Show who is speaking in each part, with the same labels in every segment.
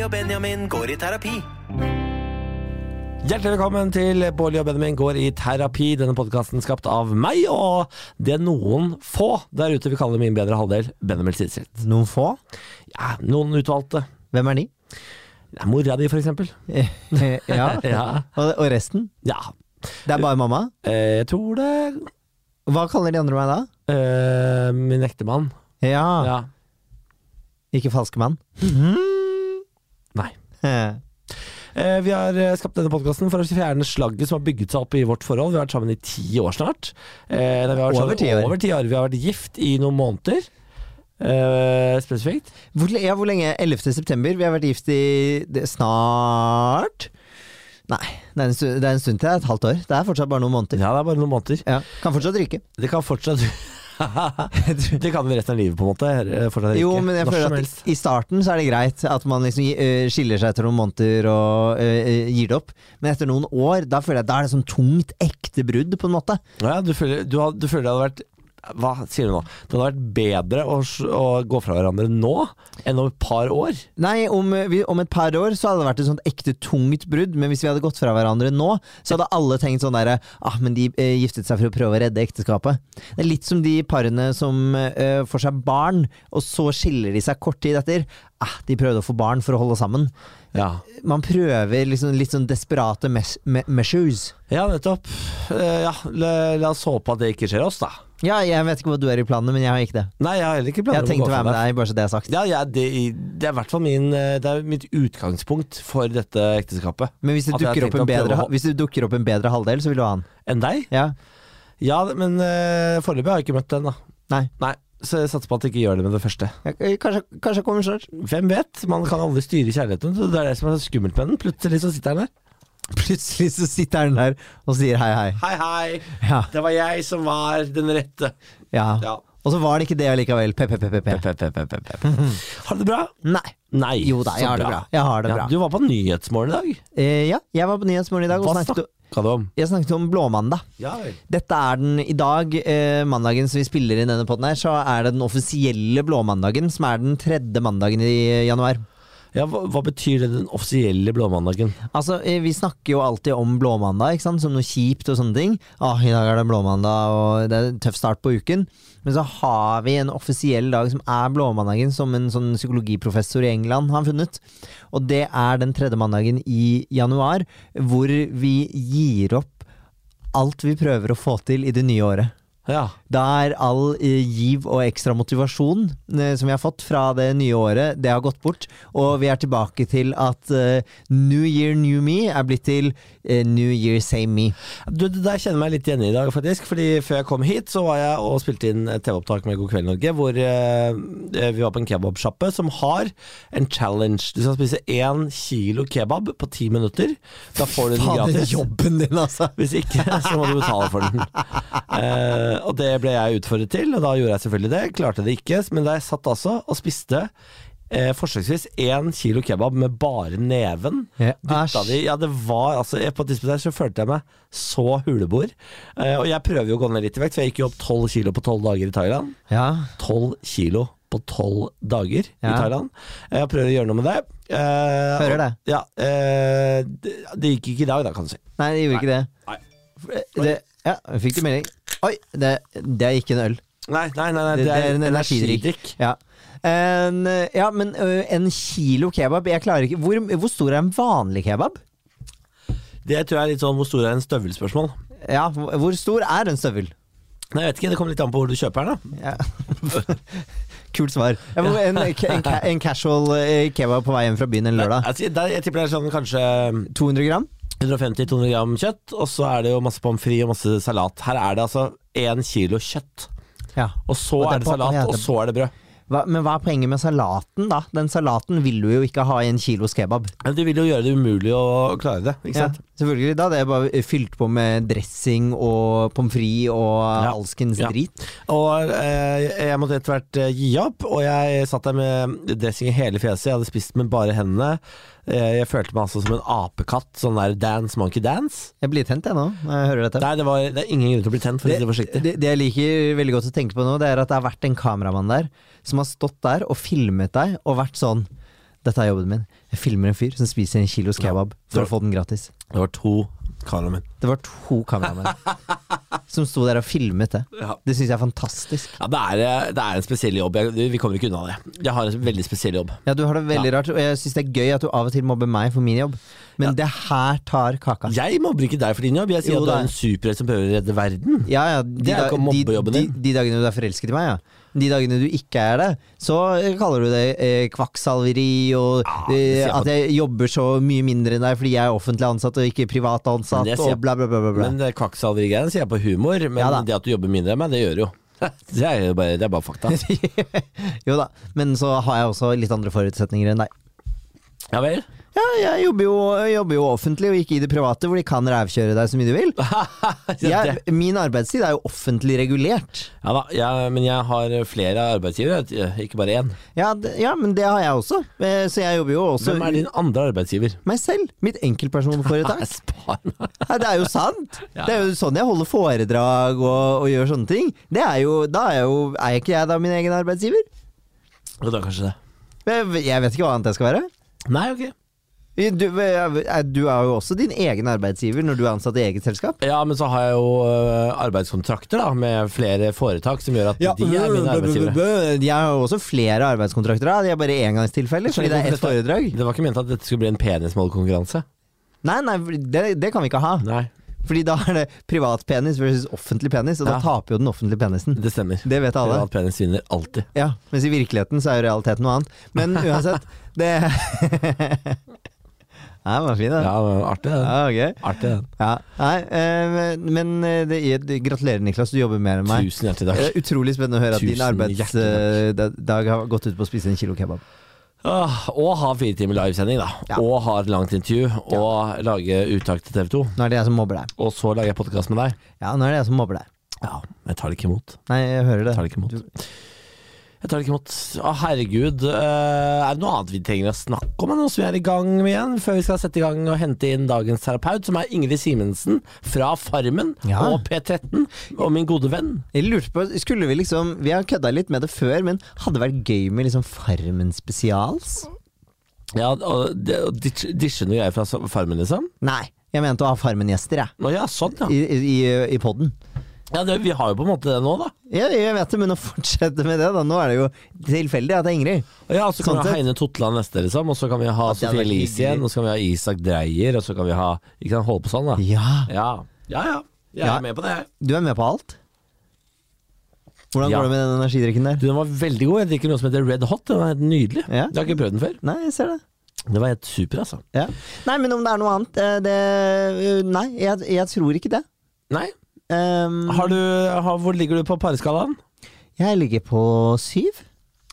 Speaker 1: og Benjamin går i terapi.
Speaker 2: Hjertelig velkommen til Bårli og Benjamin går i terapi. Denne podkasten skapt av meg og det noen få der ute vil kalle min bedre halvdel, Benjamin Sidseth.
Speaker 3: Noen få?
Speaker 2: Ja, noen utvalgte.
Speaker 3: Hvem er de?
Speaker 2: Ja, Mora di, for eksempel.
Speaker 3: ja.
Speaker 2: Ja.
Speaker 3: Og, og resten?
Speaker 2: ja.
Speaker 3: Det er bare mamma?
Speaker 2: Eh, Jeg tror det
Speaker 3: Hva kaller de andre meg da?
Speaker 2: eh, Min ektemann.
Speaker 3: Ja,
Speaker 2: Ja.
Speaker 3: ikke falske mann.
Speaker 2: Nei.
Speaker 3: Eh,
Speaker 2: Eh, Vi har eh, skapt denne podkasten for å fjerne slagget som har bygget seg opp i vårt forhold. Vi har vært sammen i ti år snart. Eh, nei, vi har vært
Speaker 3: Over
Speaker 2: sammen-
Speaker 3: ti år.
Speaker 2: Over ti år. Vi har vært gift i noen måneder. Eh, spesifikt.
Speaker 3: Hvor, ja, hvor lenge? 11. september? Vi har vært gift i det, snart Nei, det er, en stund, det er en stund til. Det er et halvt år. Det er fortsatt bare noen måneder.
Speaker 2: Ja, det er bare noen måneder.
Speaker 3: Ja. Kan fortsatt ryke.
Speaker 2: Det kan fortsatt Det kan vi resten av livet, på en måte. Eh, Fortsatt
Speaker 3: Jo,
Speaker 2: ikke.
Speaker 3: men jeg
Speaker 2: Når
Speaker 3: føler
Speaker 2: som
Speaker 3: at
Speaker 2: helst.
Speaker 3: i starten så er det greit at man liksom eh, skiller seg etter noen måneder og eh, gir det opp. Men etter noen år, da føler jeg at da er det sånn tungt, ekte brudd, på en måte.
Speaker 2: Ja, du, føler, du, har- du føler det hadde vært Hva sier du nå? Det hadde vært bedre å, s- å gå fra hverandre nå enn om et par år.
Speaker 3: Nei, om, eh, vi, om et par år så hadde det vært et sånt ekte tungt brudd, men hvis vi hadde gått fra hverandre nå, så hadde alle tenkt sånn derre Ah, men de eh, giftet seg for å prøve å redde ekteskapet. Det er litt som de parene som eh, får seg barn, og så skiller de seg kort tid etter. Ah, de prøvde å få barn for å holde sammen.
Speaker 2: Ja,
Speaker 3: Man prøver liksom litt sånn desperate mes me measures.
Speaker 2: ja nettopp. Eh, Ja, la, la oss håpe at det ikke skjer oss, da.
Speaker 3: Ja, jeg vet ikke hva du er i planene, men jeg har ikke det.
Speaker 2: Nei, jeg har heller ikke
Speaker 3: Jeg
Speaker 2: planer
Speaker 3: har tenkt
Speaker 2: om
Speaker 3: å
Speaker 2: å gå
Speaker 3: være
Speaker 2: fra
Speaker 3: med
Speaker 2: deg.
Speaker 3: deg, bare så det er sagt.
Speaker 2: Ja, jeg- det, det er i hvert fall min, eh, det er mitt utgangspunkt for dette ekteskapet.
Speaker 3: Men hvis det,
Speaker 2: At jeg har
Speaker 3: dukker opp,
Speaker 2: tenkt
Speaker 3: en
Speaker 2: å prøve
Speaker 3: bedre,
Speaker 2: å-
Speaker 3: ha- hvis det dukker opp en bedre halvdel, så vil du ha han.
Speaker 2: Enn deg?
Speaker 3: Ja.
Speaker 2: Ja, men eh, foreløpig har jeg ikke møtt den, da.
Speaker 3: Nei.
Speaker 2: Nei, Så jeg satser på at jeg ikke gjør det med det første.
Speaker 3: Jeg- Kanskje, kanskje jeg kommer snart.
Speaker 2: Hvem vet? Man kan aldri styre kjærligheten. Så det er det som er så skummelt med den. Plutselig så sitter den der.
Speaker 3: Plutselig så sitter han der og sier hei, hei.
Speaker 2: Hei, hei!
Speaker 3: Ja,
Speaker 2: Det var jeg som var den rette.
Speaker 3: ja.
Speaker 2: Ja.
Speaker 3: Og så var det ikke det allikevel. PPPP.
Speaker 2: Pep, pep, pep, pep, pep. Har du det bra?
Speaker 3: Nei.
Speaker 2: Nei.
Speaker 3: Jo da, jeg
Speaker 2: så
Speaker 3: har det bra. Jeg har det
Speaker 2: Ja,
Speaker 3: bra.
Speaker 2: du var på Nyhetsmorgen i dag.
Speaker 3: Eh, ja, jeg var på Nyhetsmorgen i dag og
Speaker 2: Hva
Speaker 3: snakket,
Speaker 2: snakka du om?
Speaker 3: jeg snakket om blåmandag.
Speaker 2: Ja vel.
Speaker 3: Dette er den i dag, eh, mandagen som vi spiller inn denne podden her, så er det den offisielle blåmandagen, som er den tredje mandagen i januar.
Speaker 2: Ja, hva, hva betyr det, den offisielle blåmandagen?
Speaker 3: Altså, eh, Vi snakker jo alltid om blåmandag ikke sant? som noe kjipt og sånne ting. Ah, I dag er det blåmandag, og det er en tøff start på uken. Men så har vi en offisiell dag som er blåmandagen, som en sånn psykologiprofessor i England har funnet. Og det er den tredje mandagen i januar, hvor vi gir opp alt vi prøver å få til i det nye året.
Speaker 2: Ja.
Speaker 3: Da er all eh, giv og ekstra motivasjon eh, som vi har fått fra det nye året, det har gått bort. Og vi er tilbake til at eh, New Year New Me er blitt til eh, New Year Same Me.
Speaker 2: Du, det der kjenner jeg meg litt igjen i i dag, faktisk. Fordi før jeg kom hit, så var jeg og spilte inn et TV-opptak med God kveld, Norge, hvor eh, vi var på en kebabsjappe som har en challenge. Du skal spise én kilo kebab på ti minutter. Da får du den
Speaker 3: Faen, den
Speaker 2: gratis.
Speaker 3: jobben din, altså!
Speaker 2: Hvis ikke, så må du betale for den. Eh, og det ble jeg utfordret til, og da gjorde jeg selvfølgelig det. Klarte det ikke, men da jeg satt altså og spiste eh, forsøksvis én kilo kebab med bare neven
Speaker 3: Ja,
Speaker 2: dytta de, ja, det var altså jeg- På et tidspunkt der så følte jeg meg så huleboer. Eh, og jeg prøver jo å gå ned litt i vekt, for jeg gikk jo opp tolv kilo på tolv dager i Thailand.
Speaker 3: Ja.
Speaker 2: 12 kilo på 12 dager i
Speaker 3: Ja.
Speaker 2: Thailand. Jeg prøver å gjøre noe med det. Eh,
Speaker 3: Hører
Speaker 2: og-
Speaker 3: det.
Speaker 2: Ja, eh, det, det gikk ikke i dag, da, kan du si.
Speaker 3: Nei, det gjorde ikke det. Eh,
Speaker 2: Nei.
Speaker 3: det ja, jeg fikk du melding? Oi! Det, det er ikke en øl.
Speaker 2: Nei, nei, nei, nei
Speaker 3: Det- det er en energidrikk. Ja. En, eh, ja, men eh, en kilo kebab Jeg klarer ikke Hvor, hvor stor er en vanlig kebab?
Speaker 2: Det tror jeg er litt sånn hvor stor er en støvelspørsmål.
Speaker 3: Ja, hvor hvor stor er en støvel?
Speaker 2: Nei, jeg vet ikke, Det kommer litt an på hvor du kjøper den. da
Speaker 3: Ja. Kult svar. Jeg må, en, en, ca- en casual eh, kebab på vei hjem fra byen en lørdag.
Speaker 2: Jeg, sier- der- jeg tipper det er sånn kanskje
Speaker 3: 200 gram?
Speaker 2: 150-200 gram kjøtt, og så er det jo masse pommes frites og masse salat. Her er det altså én kilo kjøtt,
Speaker 3: Ja.
Speaker 2: og så
Speaker 3: Og det er
Speaker 2: er det
Speaker 3: på-
Speaker 2: salat,
Speaker 3: ja,
Speaker 2: og
Speaker 3: det-
Speaker 2: så er det brød.
Speaker 3: Hva, men hva er poenget med salaten, da? Den salaten vil du jo ikke ha i en kilos kebab.
Speaker 2: Men de vil jo gjøre det umulig å klare det, ikke
Speaker 3: Ja,
Speaker 2: sant?
Speaker 3: selvfølgelig. Da hadde jeg bare eh, fylt på med dressing og pommes frites og alskens
Speaker 2: Ja.
Speaker 3: drit.
Speaker 2: Og eh, jeg måtte etter hvert eh, gi opp, og jeg satt der med dressing i hele fjeset. Jeg hadde spist med bare hendene. Eh, jeg følte meg altså som en apekatt. Sånn der dance monkey dance.
Speaker 3: Jeg blir tent, jeg nå, når jeg hører dette.
Speaker 2: Nei, det, var, det er ingen grunn til å bli tent, for å si det forsiktig.
Speaker 3: Det, det jeg liker veldig godt å tenke på nå, det er at det har vært en kameramann der som har stått der og filmet deg og vært sånn Dette er jobben min. Jeg filmer en fyr som spiser en kilos kebab for
Speaker 2: Ja.
Speaker 3: å få den gratis.
Speaker 2: Det var to kameramenn.
Speaker 3: Det var to kameramenn som sto der og filmet det.
Speaker 2: Ja.
Speaker 3: Det syns jeg er fantastisk.
Speaker 2: Ja, det, er, eh, det er en spesiell jobb. Jeg, vi kommer ikke unna det. Jeg har en veldig spesiell jobb.
Speaker 3: Ja, du har det veldig rart, og jeg syns det er gøy at du av og til mobber meg for min jobb, men det her tar kaka.
Speaker 2: Jeg mobber ikke deg for din jobb. Jeg sier
Speaker 3: Jo,
Speaker 2: at du
Speaker 3: det
Speaker 2: er
Speaker 3: er-
Speaker 2: en superhelt som prøver å redde verden.
Speaker 3: Ja, ja, de,
Speaker 2: Det er jo
Speaker 3: da-
Speaker 2: ikke å mobbe
Speaker 3: de,
Speaker 2: jobben
Speaker 3: de,
Speaker 2: din.
Speaker 3: de dagene du er forelsket i meg, ja. De dagene du ikke er det, så kaller du det eh, kvakksalveri og
Speaker 2: Ah, det
Speaker 3: eh,
Speaker 2: sier jeg på-
Speaker 3: at jeg jobber så mye mindre enn deg fordi jeg er offentlig ansatt og ikke privat ansatt
Speaker 2: Men det sier
Speaker 3: og
Speaker 2: jeg-
Speaker 3: bla, bla, bla. bla, bla.
Speaker 2: Men det kvakksalverigreiene sier jeg på humor, men
Speaker 3: Ja da.
Speaker 2: det at du jobber mindre enn meg, det gjør du jo. Det er, jo bare, det er bare fakta.
Speaker 3: jo da, men så har jeg også litt andre forutsetninger enn deg.
Speaker 2: Ja vel?
Speaker 3: Ja, jeg jobber jo, jeg jobber jo offentlig og ikke i det private, hvor de kan rævkjøre deg så mye du vil. Jeg,
Speaker 2: det-
Speaker 3: min arbeidstid er jo offentlig regulert.
Speaker 2: Ja da, jeg, men jeg har flere arbeidsgivere, eh, ikke bare én.
Speaker 3: Ja, det, ja, men det har jeg også. Eh, Så jeg jobber jo også
Speaker 2: Hvem er din andre arbeidsgiver?
Speaker 3: meg selv. Mitt enkeltpersonforetak.
Speaker 2: Jeg spar meg.
Speaker 3: Ja, det er jo sant!
Speaker 2: Ja.
Speaker 3: Det er jo sånn jeg holder foredrag og, og gjør sånne ting. Det er jo, da er, jo, er ikke jeg da min egen arbeidsgiver?
Speaker 2: Jo, det er kanskje det.
Speaker 3: Jeg, jeg vet ikke hva annet jeg skal være.
Speaker 2: Nei, ok.
Speaker 3: Du, eh, du er jo også din egen arbeidsgiver når du er ansatt i eget selskap.
Speaker 2: Ja, men så har jeg jo ø, arbeidskontrakter da, med flere foretak som gjør at de er mine arbeidsgivere.
Speaker 3: Jeg har jo også flere arbeidskontrakter. da. De er bare engangstilfeller, fordi det er ett foredrag.
Speaker 2: Det var ikke ment at dette skulle bli en penismålkonkurranse.
Speaker 3: Nei, nei, det, det kan vi ikke ha.
Speaker 2: Nei,
Speaker 3: Fordi da er det privat penis versus offentlig penis, og da
Speaker 2: Ja.
Speaker 3: taper jo den offentlige penisen.
Speaker 2: det stemmer.
Speaker 3: Det vet alle.
Speaker 2: Privat penis vinner alltid.
Speaker 3: Ja, Mens i virkeligheten så er jo realiteten noe annet. Men uansett, det Nei, den var fin, den.
Speaker 2: Ja, men artig den.
Speaker 3: Ja, ok.
Speaker 2: Artig den.
Speaker 3: Ja. Nei, eh, men eh, det, jeg- gratulerer, Niklas. Du jobber mer enn meg.
Speaker 2: Tusen hjertelig
Speaker 3: Det
Speaker 2: takk.
Speaker 3: er utrolig spennende å høre at din
Speaker 2: Tusen hjertelig
Speaker 3: arbeidsdag har gått ut på å spise en kilo kebab.
Speaker 2: Åh, Ah, og ha fire timer livesending, da.
Speaker 3: Ja.
Speaker 2: Og ha et langt intervju. Og lage uttak til TV 2.
Speaker 3: Nå er det jeg som mobber deg.
Speaker 2: Og så lager jeg podkast med deg.
Speaker 3: Ja, nå er det jeg som mobber deg.
Speaker 2: Ja, jeg tar det ikke imot.
Speaker 3: Nei, jeg hører det.
Speaker 2: Jeg tar det ikke imot. Jeg tar det ikke imot. Å, herregud. eh, er det noe annet vi trenger å snakke om? Er det Noe som vi er i gang med igjen? Før vi skal sette i gang og hente inn dagens terapeut, som er Ingrid Simensen fra Farmen
Speaker 3: Ja.
Speaker 2: og P13. Og min gode venn.
Speaker 3: Jeg lurte på, skulle Vi liksom Vi har kødda litt med det før, men hadde det vært gøy med liksom Farmen spesials?
Speaker 2: Ja, og det- og ditch- Ditche noe greier fra Farmen, liksom?
Speaker 3: Nei, jeg mente å ha Farmen-gjester, jeg.
Speaker 2: Å ja, sånn, ja.
Speaker 3: I, i, i poden.
Speaker 2: ja det, vi har jo på en måte det nå, da.
Speaker 3: Jeg, jeg vet det, men å fortsette med det, da. Nå er det jo tilfeldig at det er Ingrid.
Speaker 2: Ja, så kan vi
Speaker 3: Sånn
Speaker 2: ha
Speaker 3: sett.
Speaker 2: Heine Totland neste, liksom. Og så kan vi ha
Speaker 3: det hadde
Speaker 2: Sofie
Speaker 3: vært
Speaker 2: Elise igjen.
Speaker 3: hyggelig.
Speaker 2: Og så kan vi ha Isak Dreyer. Og så kan vi ha Ikke sant, holde på sånn, da.
Speaker 3: Ja.
Speaker 2: Ja ja. ja. Jeg er
Speaker 3: Ja.
Speaker 2: med på det, jeg.
Speaker 3: Du er med på alt? Hvordan
Speaker 2: Ja.
Speaker 3: går det med den energidrikken der?
Speaker 2: Du, den var veldig god. Jeg drikker noe som heter Red Hot. Den er helt nydelig.
Speaker 3: Ja.
Speaker 2: Jeg har ikke prøvd den før.
Speaker 3: Nei, jeg ser det.
Speaker 2: Det var helt super, altså.
Speaker 3: Ja. Nei, men om det er noe annet eh, det, eh, Nei, jeg, jeg tror ikke det.
Speaker 2: Nei.
Speaker 3: Um,
Speaker 2: Har du, har, hvor ligger du på pareskalaen?
Speaker 3: Jeg ligger på syv.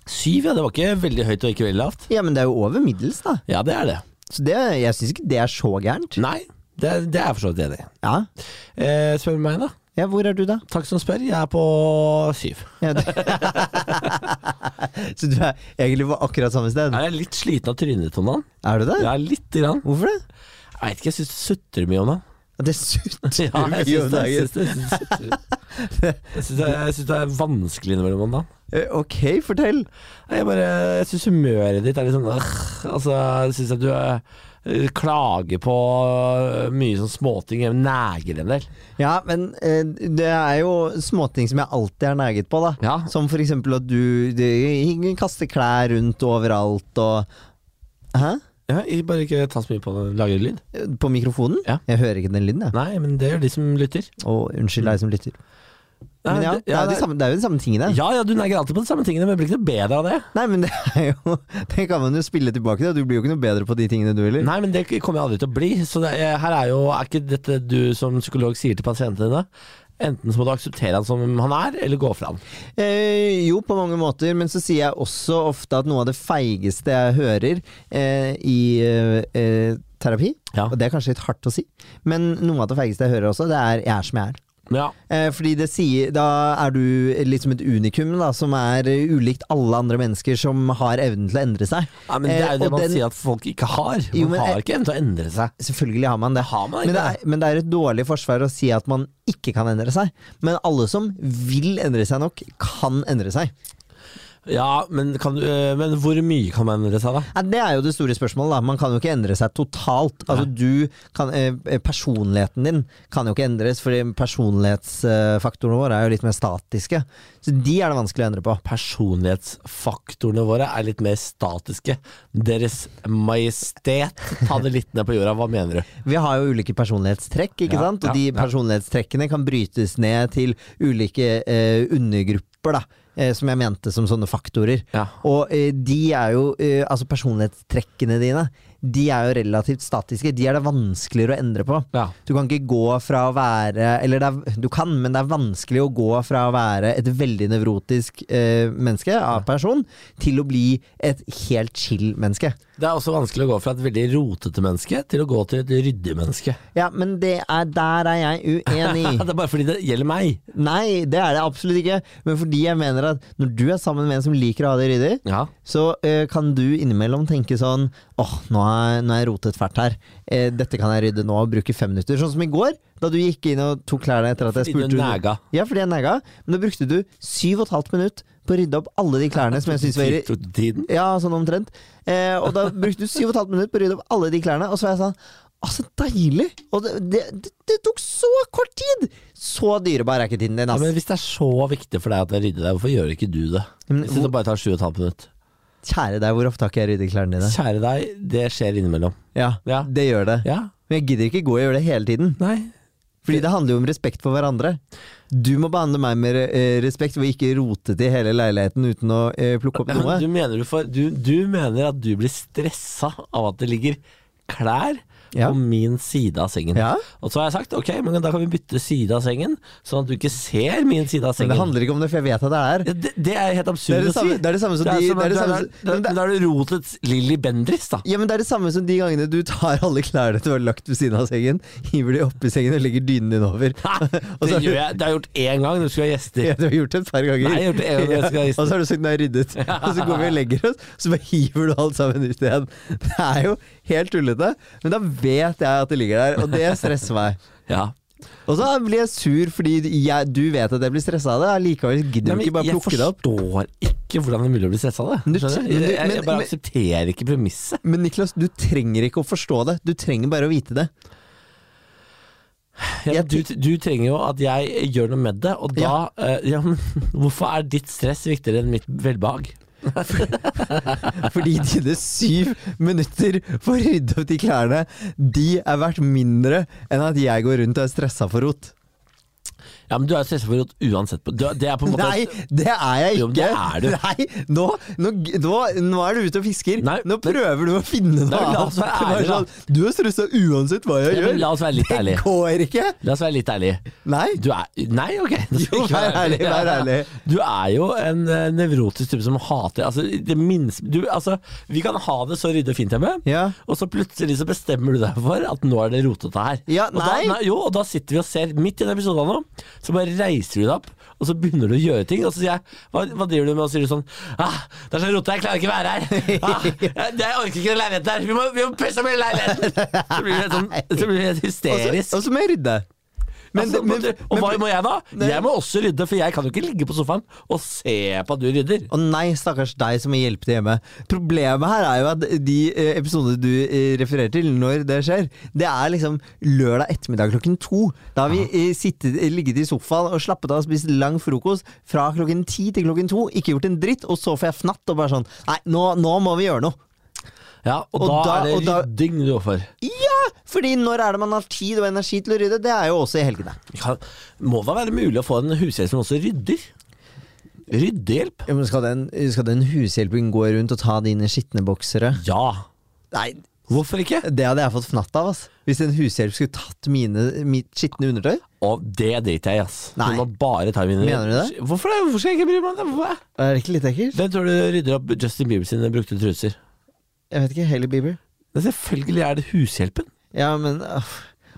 Speaker 2: Syv, ja. Det var ikke veldig høyt og ikke veldig lavt.
Speaker 3: Ja, men det er jo over middels, da.
Speaker 2: Ja, det er det.
Speaker 3: Så det, jeg syns ikke det er så gærent.
Speaker 2: Nei, det, er- det er jeg for så vidt enig i.
Speaker 3: Ja.
Speaker 2: Eh, spør meg, da.
Speaker 3: ja, hvor er du da?
Speaker 2: Takk som spør. Jeg er på syv.
Speaker 3: Ja, du. så du er egentlig på akkurat samme sted?
Speaker 2: Jeg er litt sliten av trynet til han.
Speaker 3: Er du det?
Speaker 2: Jeg er lite grann.
Speaker 3: Hvorfor det?
Speaker 2: Jeg vet ikke, jeg syns du sutrer mye om han.
Speaker 3: Ja, Det sutrer
Speaker 2: Ja, jeg
Speaker 3: mye
Speaker 2: syns
Speaker 3: om
Speaker 2: det,
Speaker 3: dagen.
Speaker 2: jeg syns det, jeg syns det, jeg syns det, jeg syns det er vanskelig innimellom om dagen.
Speaker 3: Eh, Ok, fortell.
Speaker 2: Nei, Jeg, bare, jeg syns humøret ditt er litt sånn øh, altså, Jeg syns at du øh, klager på mye sånn småting. Jeg neger en del.
Speaker 3: Ja, men eh, det er jo småting som jeg alltid er neget på, da.
Speaker 2: Ja.
Speaker 3: Som for eksempel at du, du kaster klær rundt overalt og Hæ?
Speaker 2: Ja, jeg bare ikke ta så mye på det. Lager lyd?
Speaker 3: På mikrofonen?
Speaker 2: Ja.
Speaker 3: Jeg hører ikke den lyden, jeg.
Speaker 2: Nei, men det gjør de som lytter.
Speaker 3: Å, unnskyld deg som lytter. Men ja,
Speaker 2: det-
Speaker 3: det, er jo de
Speaker 2: det-
Speaker 3: samme, det er jo de samme tingene.
Speaker 2: ja, ja, du neger alltid på de samme tingene, men det blir ikke noe bedre av det.
Speaker 3: Nei, men det er jo Det kan man jo spille tilbake til. Du blir jo ikke noe bedre på de tingene du heller.
Speaker 2: Nei, men det kommer jeg aldri til å bli. Så det er, her er jo Er ikke dette du som psykolog sier til pasientene dine? Enten så må du akseptere han som han er, eller gå fra han.
Speaker 3: Eh, jo, på mange måter, men så sier jeg også ofte at noe av det feigeste jeg hører eh, i eh, eh, terapi,
Speaker 2: Ja.
Speaker 3: og det er kanskje litt hardt å si, men noe av det feigeste jeg hører også, det er 'jeg er som jeg er'.
Speaker 2: Ja.
Speaker 3: Eh, Fordi det sier, Da er du litt som et unikum da, som er eh, ulikt alle andre mennesker som har evnen til å endre seg.
Speaker 2: Nei, men det er
Speaker 3: Eh,
Speaker 2: jo det
Speaker 3: og
Speaker 2: man
Speaker 3: den-
Speaker 2: sier at folk ikke har. Man
Speaker 3: Jo, men-
Speaker 2: har ikke evnen til å endre seg.
Speaker 3: Selvfølgelig har man det.
Speaker 2: Har man
Speaker 3: Men det,
Speaker 2: ikke
Speaker 3: er, men det er et dårlig forsvar å si at man ikke kan endre seg. Men alle som vil endre seg nok, kan endre seg.
Speaker 2: Ja, men, kan, du- eh, men hvor mye kan man endre seg, da?
Speaker 3: Nei, det er jo det store spørsmålet. da. Man kan jo ikke endre seg totalt. Altså, du kan, eh, personligheten din kan jo ikke endres, for personlighetsfaktorene våre er jo litt mer statiske. Så de er det vanskelig å endre på.
Speaker 2: Personlighetsfaktorene våre er litt mer statiske. Deres Majestet, ta det litt ned på jorda, hva mener du?
Speaker 3: Vi har jo ulike personlighetstrekk, ikke
Speaker 2: Ja,
Speaker 3: sant? og
Speaker 2: ja,
Speaker 3: de
Speaker 2: ja.
Speaker 3: personlighetstrekkene kan brytes ned til ulike eh, undergrupper, da, eh, som jeg mente som sånne faktorer.
Speaker 2: Ja.
Speaker 3: Og eh, de er jo, eh, altså personlighetstrekkene dine, de er jo relativt statiske. De er det vanskeligere å endre på.
Speaker 2: Ja.
Speaker 3: Du kan ikke gå fra å være Eller det er, du kan, men det er vanskelig å gå fra å være et veldig nevrotisk eh, menneske, av person, til å bli et helt chill menneske.
Speaker 2: Det er også vanskelig å gå fra et veldig rotete menneske til å gå til et ryddig menneske.
Speaker 3: Ja, men det er, der er jeg uenig.
Speaker 2: Ja, det er bare fordi det gjelder meg.
Speaker 3: Nei, det er det absolutt ikke. Men fordi jeg mener at når du er sammen med en som liker å ha det ryddig,
Speaker 2: Ja.
Speaker 3: så eh, kan du innimellom tenke sånn Åh, nå har jeg- nå har jeg rotet fælt her. Eh, dette kan jeg rydde nå og bruke fem minutter. Sånn som i går, da du gikk inn og tok klærne etter at jeg
Speaker 2: Fordi
Speaker 3: spurte
Speaker 2: du nega.
Speaker 3: Ja, fordi jeg nega. Men da brukte du syv og et halvt minutt på å rydde opp alle de klærne som jeg syns var irri-
Speaker 2: Tiden.
Speaker 3: ja, sånn omtrent. Eh, og da brukte du syv og et halvt minutt på å rydde opp alle de klærne, og så var jeg sånn Å, så deilig! Og det, det, det, det tok så kort tid! Så dyrebar er ikke tiden din,
Speaker 2: Ja,
Speaker 3: ass.
Speaker 2: men hvis det er så viktig for deg at jeg rydder deg, hvorfor gjør ikke du det?
Speaker 3: Men
Speaker 2: Hvis det bare tar sju og et halvt minutt.
Speaker 3: Kjære deg, hvor ofte har ikke jeg ryddet klærne dine?
Speaker 2: Kjære deg, det skjer innimellom.
Speaker 3: Ja,
Speaker 2: Ja.
Speaker 3: det gjør det.
Speaker 2: Ja?
Speaker 3: Men jeg gidder ikke gå og gjøre det hele tiden.
Speaker 2: Nei?
Speaker 3: Fordi det handler jo om respekt for hverandre. Du må behandle meg med eh, respekt, og ikke rote til hele leiligheten uten å eh, plukke opp
Speaker 2: Ja, men
Speaker 3: noe.
Speaker 2: du, mener du, får- du, du mener at du blir stressa av at det ligger klær
Speaker 3: Ja.
Speaker 2: på min side av sengen.
Speaker 3: Ja.
Speaker 2: Og så har jeg sagt ok, men da kan vi bytte side av sengen, sånn at du ikke ser min side av
Speaker 3: Men
Speaker 2: sengen.
Speaker 3: det handler ikke om det, for jeg vet at det er
Speaker 2: ja,
Speaker 3: der.
Speaker 2: det, det er helt
Speaker 3: Det er
Speaker 2: absurd å
Speaker 3: det
Speaker 2: si.
Speaker 3: samme, det er det samme som
Speaker 2: Det er
Speaker 3: de
Speaker 2: som-
Speaker 3: det er det
Speaker 2: da
Speaker 3: samme
Speaker 2: er
Speaker 3: som-
Speaker 2: det-
Speaker 3: men det-
Speaker 2: da er det rotets Lilly Bendriss, da.
Speaker 3: Ja, men det er det samme som de gangene du tar alle klærne du har lagt ved siden av sengen, hiver de oppi sengen og legger dynen din over.
Speaker 2: Nei,
Speaker 3: Og
Speaker 2: det,
Speaker 3: så-
Speaker 2: gjør jeg, det har jeg gjort én gang når du skulle ha gjester.
Speaker 3: Ja, du har gjort det et par ganger.
Speaker 2: Nei, jeg har gjort det en gang, jeg skal
Speaker 3: Ja,
Speaker 2: reise.
Speaker 3: og så har du sagt 'nå er jeg ryddet', og så går vi og legger oss, så bare hiver du alt sammen ut igjen. Det er jo helt tullete, men da vet jeg at det ligger der, og det stresser meg.
Speaker 2: Ja.
Speaker 3: Og så blir jeg sur fordi jeg, du vet at jeg blir stressa av det, allikevel gidder du
Speaker 2: Nei, men
Speaker 3: ikke bare
Speaker 2: jeg
Speaker 3: plukke det opp.
Speaker 2: forstår ikke hvordan det er mulig å bli stressa av det.
Speaker 3: Men du-
Speaker 2: Skjønner du?
Speaker 3: men du-
Speaker 2: Jeg, jeg,
Speaker 3: men-
Speaker 2: jeg bare
Speaker 3: men-
Speaker 2: aksepterer ikke premisset.
Speaker 3: Men Niklas, du trenger ikke å forstå det, du trenger bare å vite det.
Speaker 2: Ja,
Speaker 3: Jeg-
Speaker 2: du, du trenger jo at jeg gjør noe med det, og da
Speaker 3: Ja.
Speaker 2: eh, ja, men, Hvorfor er ditt stress viktigere enn mitt velbehag?
Speaker 3: Fordi dine syv minutter for å rydde opp de klærne, de er verdt mindre enn at jeg går rundt og er stressa for rot.
Speaker 2: Ja, men Du er jo stressa for rot uansett. Du, det er på en måte
Speaker 3: Nei, det er jeg
Speaker 2: Jo,
Speaker 3: ikke!
Speaker 2: men det er du.
Speaker 3: Nei, nå, nå, nå, nå er du ute og fisker.
Speaker 2: Nei,
Speaker 3: nå prøver du å finne noe
Speaker 2: Nei, men la oss være
Speaker 3: Det var
Speaker 2: ærlige, da.
Speaker 3: sånn, Du er stressa uansett hva jeg
Speaker 2: ja, men
Speaker 3: gjør.
Speaker 2: La oss være litt
Speaker 3: Det
Speaker 2: ærlige.
Speaker 3: går ikke!
Speaker 2: La oss være litt ærlige.
Speaker 3: Nei.
Speaker 2: Du er Nei, ok. Du skal
Speaker 3: Jo,
Speaker 2: ikke være
Speaker 3: vær ærlig, vær ærlig.
Speaker 2: Du er jo en eh, nevrotisk type som hater Altså, det minste du, altså, Vi kan ha det så ryddig og fint hjemme,
Speaker 3: Ja.
Speaker 2: og så plutselig så bestemmer du deg for at nå er det rotete her.
Speaker 3: Ja,
Speaker 2: Og da,
Speaker 3: nei.
Speaker 2: nei jo, og da sitter vi og ser, midt i den episoden nå, så bare reiser du deg opp, og så begynner du å gjøre ting, og så sier jeg Hva, hva driver du med? Og så sier du sånn ah, Det er så rotete, jeg klarer ikke å være her. Ah, jeg, jeg orker ikke den leiligheten her. Vi må, vi må pusse opp hele leiligheten. Så blir du helt sånn, så blir du helt
Speaker 3: Og så-
Speaker 2: hysterisk.
Speaker 3: Og så må jeg rydde. Men,
Speaker 2: Altså,
Speaker 3: men,
Speaker 2: måtte- og hva
Speaker 3: men-
Speaker 2: må jeg da?
Speaker 3: Nei.
Speaker 2: Jeg må også rydde, for jeg kan jo ikke ligge på sofaen og se på at du rydder.
Speaker 3: Å nei, stakkars deg som må hjelpe til hjemme. Problemet her er jo at de eh, episodene du eh, refererer til, når det skjer, det er liksom lørdag ettermiddag klokken to. Da har vi eh, sittet, eh, ligget i sofaen og slappet av og spist lang frokost fra klokken ti til klokken to. Ikke gjort en dritt, og så får jeg fnatt og bare sånn Nei, nå, nå må vi gjøre noe.
Speaker 2: Ja, og,
Speaker 3: Og
Speaker 2: da,
Speaker 3: da-
Speaker 2: er det
Speaker 3: og da-
Speaker 2: rydding du går for.
Speaker 3: Ja! Fordi når er det man har tid og energi til å rydde? Det er jo også i helgene.
Speaker 2: Vi Kan, må da være mulig å få en hushjelp som også rydder? Ryddehjelp?
Speaker 3: Ja, men skal den, skal den hushjelpen gå rundt og ta dine skitne boksere?
Speaker 2: Ja.
Speaker 3: Nei,
Speaker 2: Hvorfor ikke?
Speaker 3: Det hadde jeg fått fnatt av. Ass. Hvis en hushjelp skulle tatt mine, mitt skitne undertøy.
Speaker 2: Og det driter jeg i, ass.
Speaker 3: Nei.
Speaker 2: Du må bare ta mine
Speaker 3: Mener du det?
Speaker 2: Hvorfor, det? Hvorfor skal jeg ikke bry meg om det? Hvorfor?
Speaker 3: Er det ikke litt ekkelt?
Speaker 2: Hvem tror du rydder opp Justin Bieber sine brukte truser?
Speaker 3: Jeg vet ikke. Hailey Bieber.
Speaker 2: Men selvfølgelig er det hushjelpen.
Speaker 3: Ja, men øff.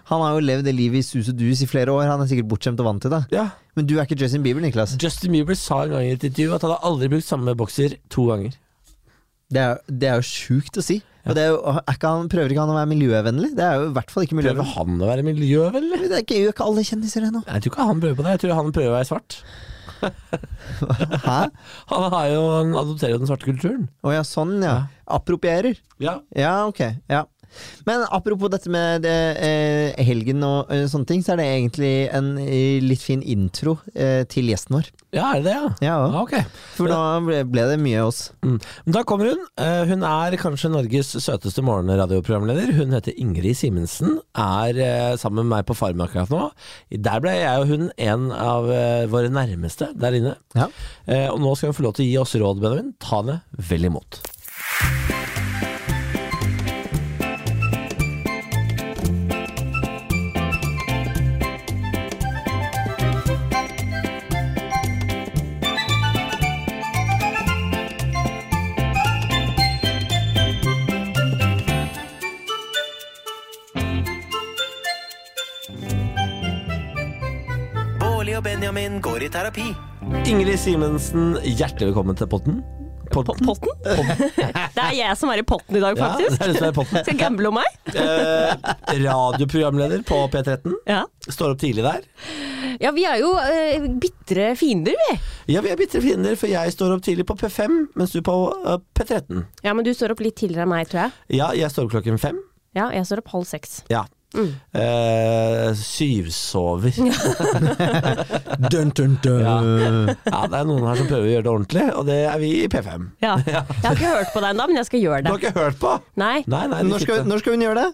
Speaker 3: Han har jo levd det livet i sus og dus i flere år. Han er sikkert bortskjemt og vant til det.
Speaker 2: Ja.
Speaker 3: Men du er ikke Justin Bieber, Niklas.
Speaker 2: Justin Bieber sa en gang i et intervju at han hadde aldri brukt samme bokser to ganger.
Speaker 3: Det er, det er jo sjukt å si. Og det er jo, er ikke han, prøver ikke han å være miljøvennlig? Det er jo i hvert fall ikke
Speaker 2: Prøver
Speaker 3: miljøvennlig.
Speaker 2: han å være miljøvennlig?
Speaker 3: Det er ikke, gjør ikke alle kjendiser det nå.
Speaker 2: Jeg tror ikke han prøver på det. Jeg tror han prøver å være svart.
Speaker 3: Hæ?
Speaker 2: Han, har jo, han adopterer jo den svarte kulturen.
Speaker 3: Å ja, sånn ja. Approprierer.
Speaker 2: Ja.
Speaker 3: Ja, ok. Ja. Men apropos dette med eh, eh, helgen og eh, sånne ting, så er det egentlig en eh, litt fin intro eh, til gjesten vår.
Speaker 2: ja, er det det, ja?
Speaker 3: Ja,
Speaker 2: Ja, ok.
Speaker 3: For da ble, ble det mye oss.
Speaker 2: Mm. Men Da kommer hun. Eh, Hun er kanskje Norges søteste morgenradioprogramleder. Hun heter Ingrid Simensen, er eh, sammen med meg på Farmen akkurat nå. Der ble jeg og hun en av eh, våre nærmeste der inne.
Speaker 3: Ja.
Speaker 2: Eh, Og nå skal hun få lov til å gi oss råd, Benjamin. Ta henne vel imot.
Speaker 1: Bårli og Benjamin går i terapi.
Speaker 2: Ingrid Simensen, hjertelig velkommen til potten. Potten?
Speaker 4: Potten? Det er jeg som er i potten i dag,
Speaker 2: Ja, det
Speaker 4: faktisk.
Speaker 2: er du som er i potten.
Speaker 4: Skal jeg gamble om meg?
Speaker 2: Eh, radioprogramleder på P13.
Speaker 4: Ja.
Speaker 2: Står opp tidlig der.
Speaker 4: ja, vi er jo uh, bitre fiender, vi.
Speaker 2: Ja, vi er bitre fiender, for jeg står opp tidlig på P5, mens du på eh, P13.
Speaker 4: Ja, men du står opp litt tidligere enn meg, tror jeg.
Speaker 2: Ja, jeg står opp klokken fem.
Speaker 4: Ja, jeg står opp halv seks.
Speaker 2: Ja.
Speaker 4: Mm.
Speaker 2: Eh, syvsover.
Speaker 3: Dun, dun, dun.
Speaker 2: Ja, det er noen her som prøver å gjøre det ordentlig, og det er vi i P5.
Speaker 4: Ja. Jeg har ikke hørt på deg ennå, men jeg skal gjøre
Speaker 2: Du
Speaker 4: det.
Speaker 2: har ikke hørt på?
Speaker 4: Nei.
Speaker 2: Nei, nei, det
Speaker 3: Når, skal,
Speaker 2: sitter-
Speaker 3: når skal hun gjøre det?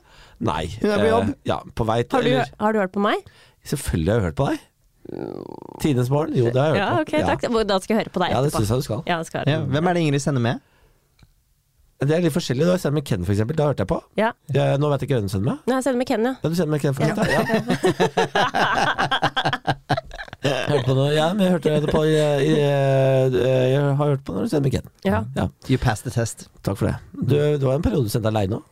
Speaker 2: nei.
Speaker 3: Hun er på
Speaker 2: eh,
Speaker 3: jobb.
Speaker 2: ja, på vei til
Speaker 4: Har du,
Speaker 2: eller,
Speaker 4: har du hørt på meg?
Speaker 2: Selvfølgelig har jeg hørt på deg. Tidenes morgen? Jo, det har jeg hørt
Speaker 4: Ja, ok,
Speaker 2: på.
Speaker 4: takk. Hvor- Da skal jeg høre på deg
Speaker 2: Ja, det
Speaker 4: etterpå.
Speaker 2: syns jeg du skal.
Speaker 4: Ja, det skal
Speaker 3: Ja.
Speaker 4: jeg.
Speaker 3: Hvem er det Ingrid sender med?
Speaker 2: Det er litt forskjellig. Du har sendt med Ken, for eksempel. Da hørte jeg på.
Speaker 4: Ja.
Speaker 2: Eh, nå vet jeg ikke hvem du sender med.
Speaker 4: Nei, jeg sender med Kenya.
Speaker 2: Ja, du sender meg Ken for dette? Ja. Jeg hørte på noe, ja, men jeg hørte det på i, i, eh, Jeg har hørt på når du sender meg Ken.
Speaker 4: Ja.
Speaker 2: Ja,
Speaker 3: You passed the test.
Speaker 2: takk for det. Du, det var en periode du sendte aleine òg.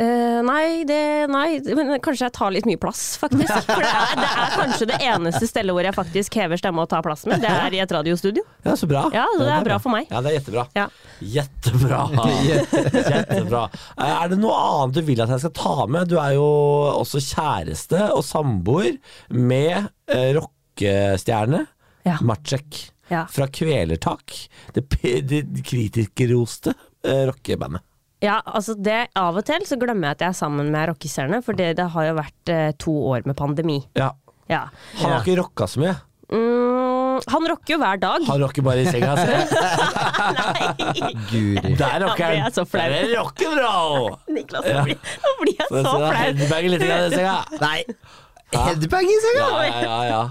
Speaker 4: Eh, nei, det, nei, men kanskje jeg tar litt mye plass, faktisk. For det er, det er kanskje det eneste stedet hvor jeg faktisk hever stemme og tar plass med. Det er i et radiostudio.
Speaker 2: Ja, så bra.
Speaker 4: Ja, det er bra for meg.
Speaker 2: Ja, det er jettebra.
Speaker 4: Ja.
Speaker 2: Jettebra. Jettebra. Eh, Er det noe annet du vil at jeg skal ta med? Du er jo også kjæreste og samboer med eh, rockestjerne
Speaker 4: Ja.
Speaker 2: Matsjek
Speaker 4: Ja.
Speaker 2: fra Kvelertak. Det, p- det kritikerroste eh, rockebandet.
Speaker 4: Ja, altså det, Av og til så glemmer jeg at jeg er sammen med rockestjerne, for det, det har jo vært eh, to år med pandemi.
Speaker 2: Ja.
Speaker 4: Ja.
Speaker 2: Han har ikke rocka så mye.
Speaker 4: Mm, han rocker jo hver dag.
Speaker 2: Han rocker bare i senga si.
Speaker 4: Nei!
Speaker 3: Guri.
Speaker 2: Der rocker han.
Speaker 4: Ja, det er så flaut.
Speaker 2: Der er rock'n'roll!
Speaker 4: Niklas, nå blir, nå blir jeg så flau.
Speaker 2: Headbanger litt i senga.
Speaker 3: Nei! Headbang i senga!
Speaker 2: Ja, ja, ja, ja.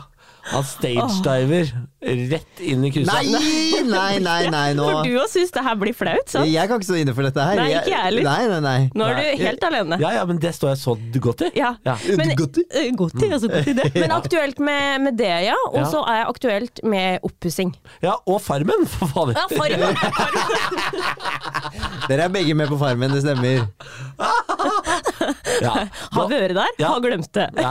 Speaker 2: Han stagediver rett inn i
Speaker 3: Nei,
Speaker 2: krysset.
Speaker 3: nei, nei, nei, nå
Speaker 4: For du òg syns det her blir flaut, sant?
Speaker 3: Jeg kan ikke stå inne for dette her.
Speaker 4: Nei, ikke jeg heller.
Speaker 3: Nei, nei, nei.
Speaker 4: Nå er du helt alene.
Speaker 2: Ja, ja, men det står jeg så godt i.
Speaker 4: Ja.
Speaker 2: Ja.
Speaker 4: Men,
Speaker 3: Godt i.
Speaker 4: Eh, godt i, altså godt i det. Men aktuelt med, med det, ja. Og
Speaker 2: Ja.
Speaker 4: så er jeg aktuelt med oppussing.
Speaker 2: Ja, og Farmen, for faen.
Speaker 4: Ja, farmen!
Speaker 3: Dere er begge med på Farmen, det stemmer.
Speaker 2: Ja.
Speaker 4: Har vært der,
Speaker 2: Ja.
Speaker 4: har glemt det.
Speaker 2: Ja.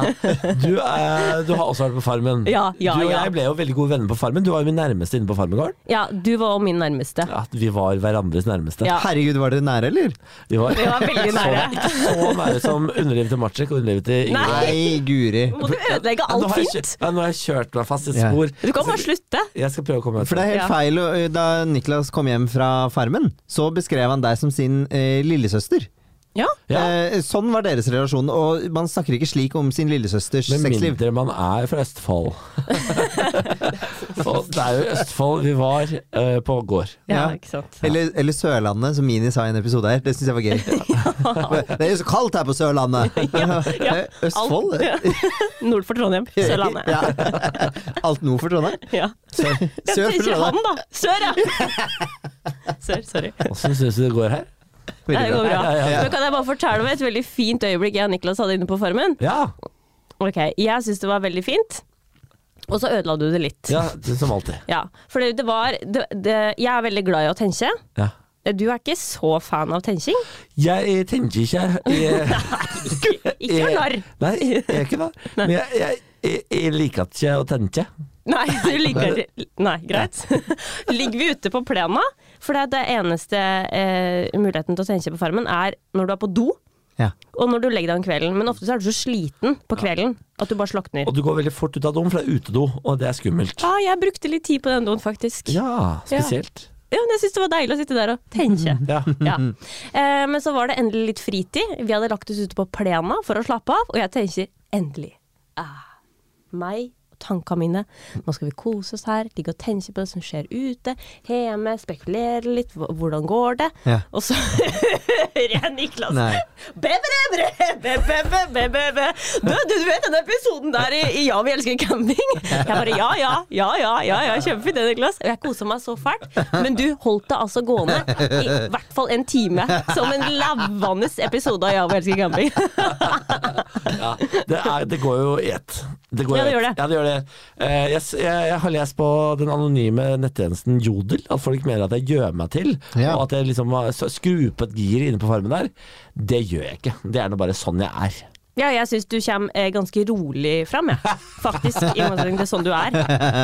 Speaker 2: Du, eh, du har også vært på Farmen.
Speaker 4: Ja, ja,
Speaker 2: du og
Speaker 4: ja.
Speaker 2: jeg ble jo veldig gode venner på Farmen. Du var jo min nærmeste inne på Farmegården.
Speaker 4: Ja, du var min nærmeste.
Speaker 2: Ja, vi var hverandres nærmeste.
Speaker 4: Ja.
Speaker 3: Herregud, var dere nære, eller?
Speaker 2: Vi var
Speaker 4: Vi var veldig nære.
Speaker 2: så nære som underlivet til Matsjek og underlivet til Ingrid.
Speaker 4: Nei.
Speaker 3: Nei, guri.
Speaker 4: Må du
Speaker 2: Ja,
Speaker 4: ødelegge
Speaker 2: nå
Speaker 4: alt
Speaker 2: har jeg
Speaker 4: fint?
Speaker 2: kjørt- Ja, nå har jeg kjørt meg fast i
Speaker 3: Ja.
Speaker 2: spor.
Speaker 4: Du kan bare slutte.
Speaker 2: Jeg skal prøve å komme meg ut.
Speaker 3: For det er helt
Speaker 4: Ja.
Speaker 3: feil. å- Da Niklas kom hjem fra Farmen, så beskrev han deg som sin eh, lillesøster.
Speaker 4: Ja.
Speaker 2: Ja.
Speaker 3: Eh, sånn var deres relasjon, og man snakker ikke slik om sin lillesøsters
Speaker 2: Med
Speaker 3: sexliv.
Speaker 2: mindre man er fra Østfold. Og det er jo i Østfold vi var eh, på gård.
Speaker 4: Ja,
Speaker 3: Ja.
Speaker 4: ikke sant.
Speaker 3: Eller, eller Sørlandet, som Mini sa i en episode her. Det syns jeg var gøy. det er jo så kaldt her på Sørlandet!
Speaker 4: ja.
Speaker 3: Østfold?
Speaker 4: Alt- Nord for Trondheim. Sørlandet.
Speaker 3: Ja. Alt nord for Trondheim?
Speaker 4: Ja. Jeg
Speaker 3: Sør for
Speaker 4: sier han,
Speaker 3: Trondheim.
Speaker 4: da. Sør, ja. Sør, sorry.
Speaker 2: Åssen syns du det går her?
Speaker 4: Nei,
Speaker 3: Veldig
Speaker 4: det går
Speaker 3: bra.
Speaker 4: bra.
Speaker 2: Ja, ja, ja.
Speaker 4: Nå kan jeg bare fortelle om et veldig fint øyeblikk jeg og Niklas hadde inne på Farmen.
Speaker 2: Ja,
Speaker 4: Ok, Jeg syns det var veldig fint, og så ødela du det litt.
Speaker 2: ja det er som alltid.
Speaker 4: Ja, for det, det var det, det, Jeg er veldig glad i å tenke.
Speaker 2: Ja.
Speaker 4: Du er ikke så fan av tenking?
Speaker 2: Jeg tenker ikke jeg,
Speaker 4: Ikke noe narr.
Speaker 2: Nei, jeg er ikke det. Men jeg, jeg, jeg, jeg liker ikke å tenke.
Speaker 4: Nei, du ligger Nei, greit. Ligger vi ute på plena? For det er det eneste eh, muligheten til å tenke på farmen er når du er på do.
Speaker 3: Ja.
Speaker 4: Og når du legger deg om kvelden. Men ofte så er du så sliten på kvelden at du bare slakner.
Speaker 2: Og du går veldig fort ut av doen, for det er utedo, og det er skummelt.
Speaker 4: Ja, Ah, jeg brukte litt tid på den doen, faktisk. Ja.
Speaker 2: Ah. Ja, spesielt.
Speaker 4: men Jeg syns det var deilig å sitte der og tenke.
Speaker 2: Ja.
Speaker 4: Ja. Eh, men så var det endelig litt fritid. Vi hadde lagt oss ute på plena for å slappe av, og jeg tenker endelig. Ah, meg og tankene mine. Nå skal vi kose oss her, ligge og tenke på det som skjer ute, hjemme, spekulere litt. hv- Hvordan går det?
Speaker 3: Ja.
Speaker 4: Og så hører jeg Niklas
Speaker 3: Nei.
Speaker 4: Be, be, be, be, be, be, be, be, be. Du, du, du vet den episoden der i, i Ja, vi elsker camping? Jeg bare ja, ja, ja, ja, ja, ja kjempefint det, Niklas. Og jeg kosa meg så fælt. Men du holdt det altså gående i hvert fall en time. Som en lavende episode av Ja, vi elsker camping.
Speaker 2: Det, er, det går jo i ett. Det går
Speaker 4: Ja,
Speaker 2: i
Speaker 4: det gjør
Speaker 2: ett.
Speaker 4: det.
Speaker 2: Ja, det gjør det. Eh, jeg, s- jeg, jeg har lest på den anonyme nettjenesten Jodel at folk mener at jeg gjør meg til,
Speaker 3: Ja.
Speaker 2: og at jeg liksom har s- skrur på et gir inne på farmen der. Det gjør jeg ikke. Det er nå bare sånn jeg er.
Speaker 4: Ja, jeg syns du kommer eh, ganske rolig fram, jeg. Faktisk, i motsetning til sånn du er.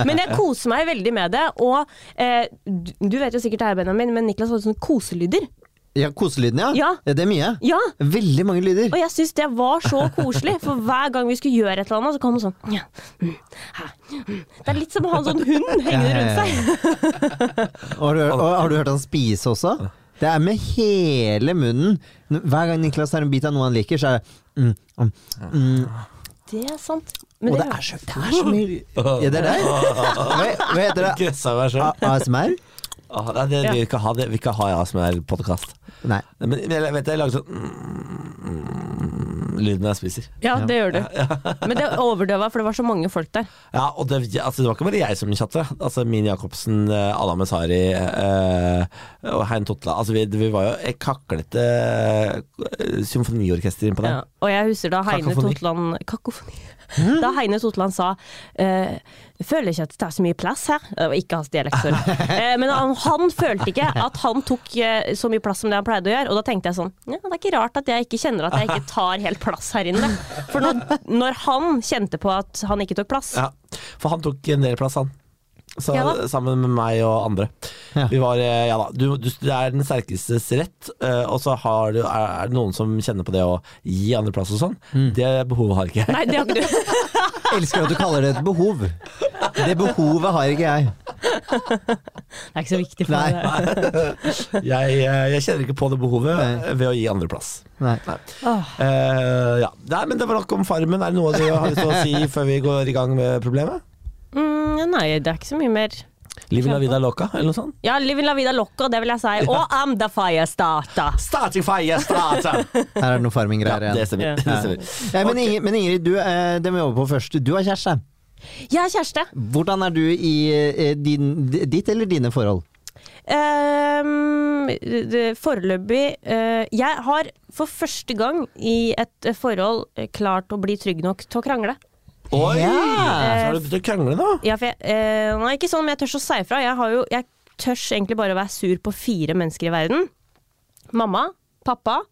Speaker 4: Men jeg koser meg veldig med det, og eh, du, du vet jo sikkert det her, Benjamin, men Niklas hadde sånne koselyder.
Speaker 3: Ja, Koselydene, ja.
Speaker 4: Ja.
Speaker 3: Det er mye.
Speaker 4: Ja,
Speaker 3: Veldig mange lyder.
Speaker 4: Og jeg syns det var så koselig, for hver gang vi skulle gjøre et eller annet, så kom hun sånn «Nja, mm, hæ, mm». Det er litt som å ha en sånn hund hengende rundt seg.
Speaker 3: Og har, du, og har du hørt han spise også? Det er med hele munnen. Hver gang Niklas tar en bit av noe han liker, så er det mm, mm, mm.
Speaker 4: Det er sant.
Speaker 3: Og
Speaker 4: Men
Speaker 3: det
Speaker 4: det,
Speaker 3: er så, det er så mye Ja, det er deg? Hva, hva heter det?
Speaker 2: Gressa meg
Speaker 3: A-
Speaker 2: sjøl.
Speaker 3: ASMR?
Speaker 2: Ah, nei, det, vi vil ikke ha det. Vi vil ikke ha ASMR-podkast.
Speaker 3: Nei.
Speaker 2: Men men jeg vet jeg lager sånn mm, Lyden når jeg spiser.
Speaker 4: ja, det gjør du. Men det overdøva, for det var så mange folk der.
Speaker 2: Ja, og det, altså, det var ikke bare jeg som chatta. Altså, Min Jacobsen, eh, Anna Messari eh, og Hein Totla. Altså, vi, vi var jo et kaklete eh, symfoniorkester innpå
Speaker 4: Ja.
Speaker 2: der.
Speaker 4: Og jeg husker da Heine
Speaker 2: Kakofoni.
Speaker 4: Totland Kakofoni. Da Heine Totland sa eh, Jeg føler ikke at det tar så mye plass her. Det var ikke hans dialekt, sorry. Eh, men han, han følte ikke at han tok eh, så mye plass som det han pleide å gjøre. Og da tenkte jeg sånn ja, Det er ikke rart at jeg ikke kjenner at jeg ikke tar helt plass her inne. For når, når han kjente på at han ikke tok plass
Speaker 2: Ja. For han tok en del plass, han. Så,
Speaker 4: Ja da.
Speaker 2: Sammen med meg og andre.
Speaker 3: Ja.
Speaker 2: Vi var, eh, ja da, du, du, det er den sterkestes rett, eh, og så har du, er, er det noen som kjenner på det å gi andre plass og sånn.
Speaker 3: Mm.
Speaker 2: Det behovet har ikke jeg.
Speaker 4: Nei, det har ikke du.
Speaker 3: Elsker at du kaller det et behov. Det behovet har ikke jeg.
Speaker 4: Det er ikke så viktig for
Speaker 3: Nei.
Speaker 4: meg. det.
Speaker 2: Jeg, eh, jeg kjenner ikke på det behovet eh, ved å gi andre plass.
Speaker 3: Nei.
Speaker 4: Åh.
Speaker 2: Eh, ja. Nei, men det var nok om Farmen. Er det noe du har lyst til å si før vi går i gang med problemet?
Speaker 4: Mm, nei, det er ikke så mye mer.
Speaker 2: Livet la vida loca, eller noe sånt?
Speaker 4: Ja, Livin la vida locker, det vil jeg si. Og I'm the fire starter.
Speaker 2: Starting fire, starter!
Speaker 3: Her er det noe
Speaker 2: ja,
Speaker 3: farming-greier igjen.
Speaker 2: altså. det stemmer.
Speaker 4: Ja.
Speaker 2: Det stemmer.
Speaker 3: Ja, men, Ingrid, men Ingrid, du, eh, det må vi over på først. Du har kjæreste.
Speaker 4: Jeg er kjæreste.
Speaker 3: Hvordan er du i eh, din, ditt eller dine forhold?
Speaker 4: Ehm, det- det- foreløpig eh, Jeg har for første gang i et eh, forhold eh, klart å bli trygg nok til å krangle.
Speaker 2: Oi! Så
Speaker 3: Ja.
Speaker 2: har du begynt å krangle nå?
Speaker 4: Ja, for jeg, eh, nei, ikke sånn, men jeg tør å si ifra. Jeg, har jo, jeg tør egentlig bare å være sur på fire mennesker i verden. Mamma, pappa,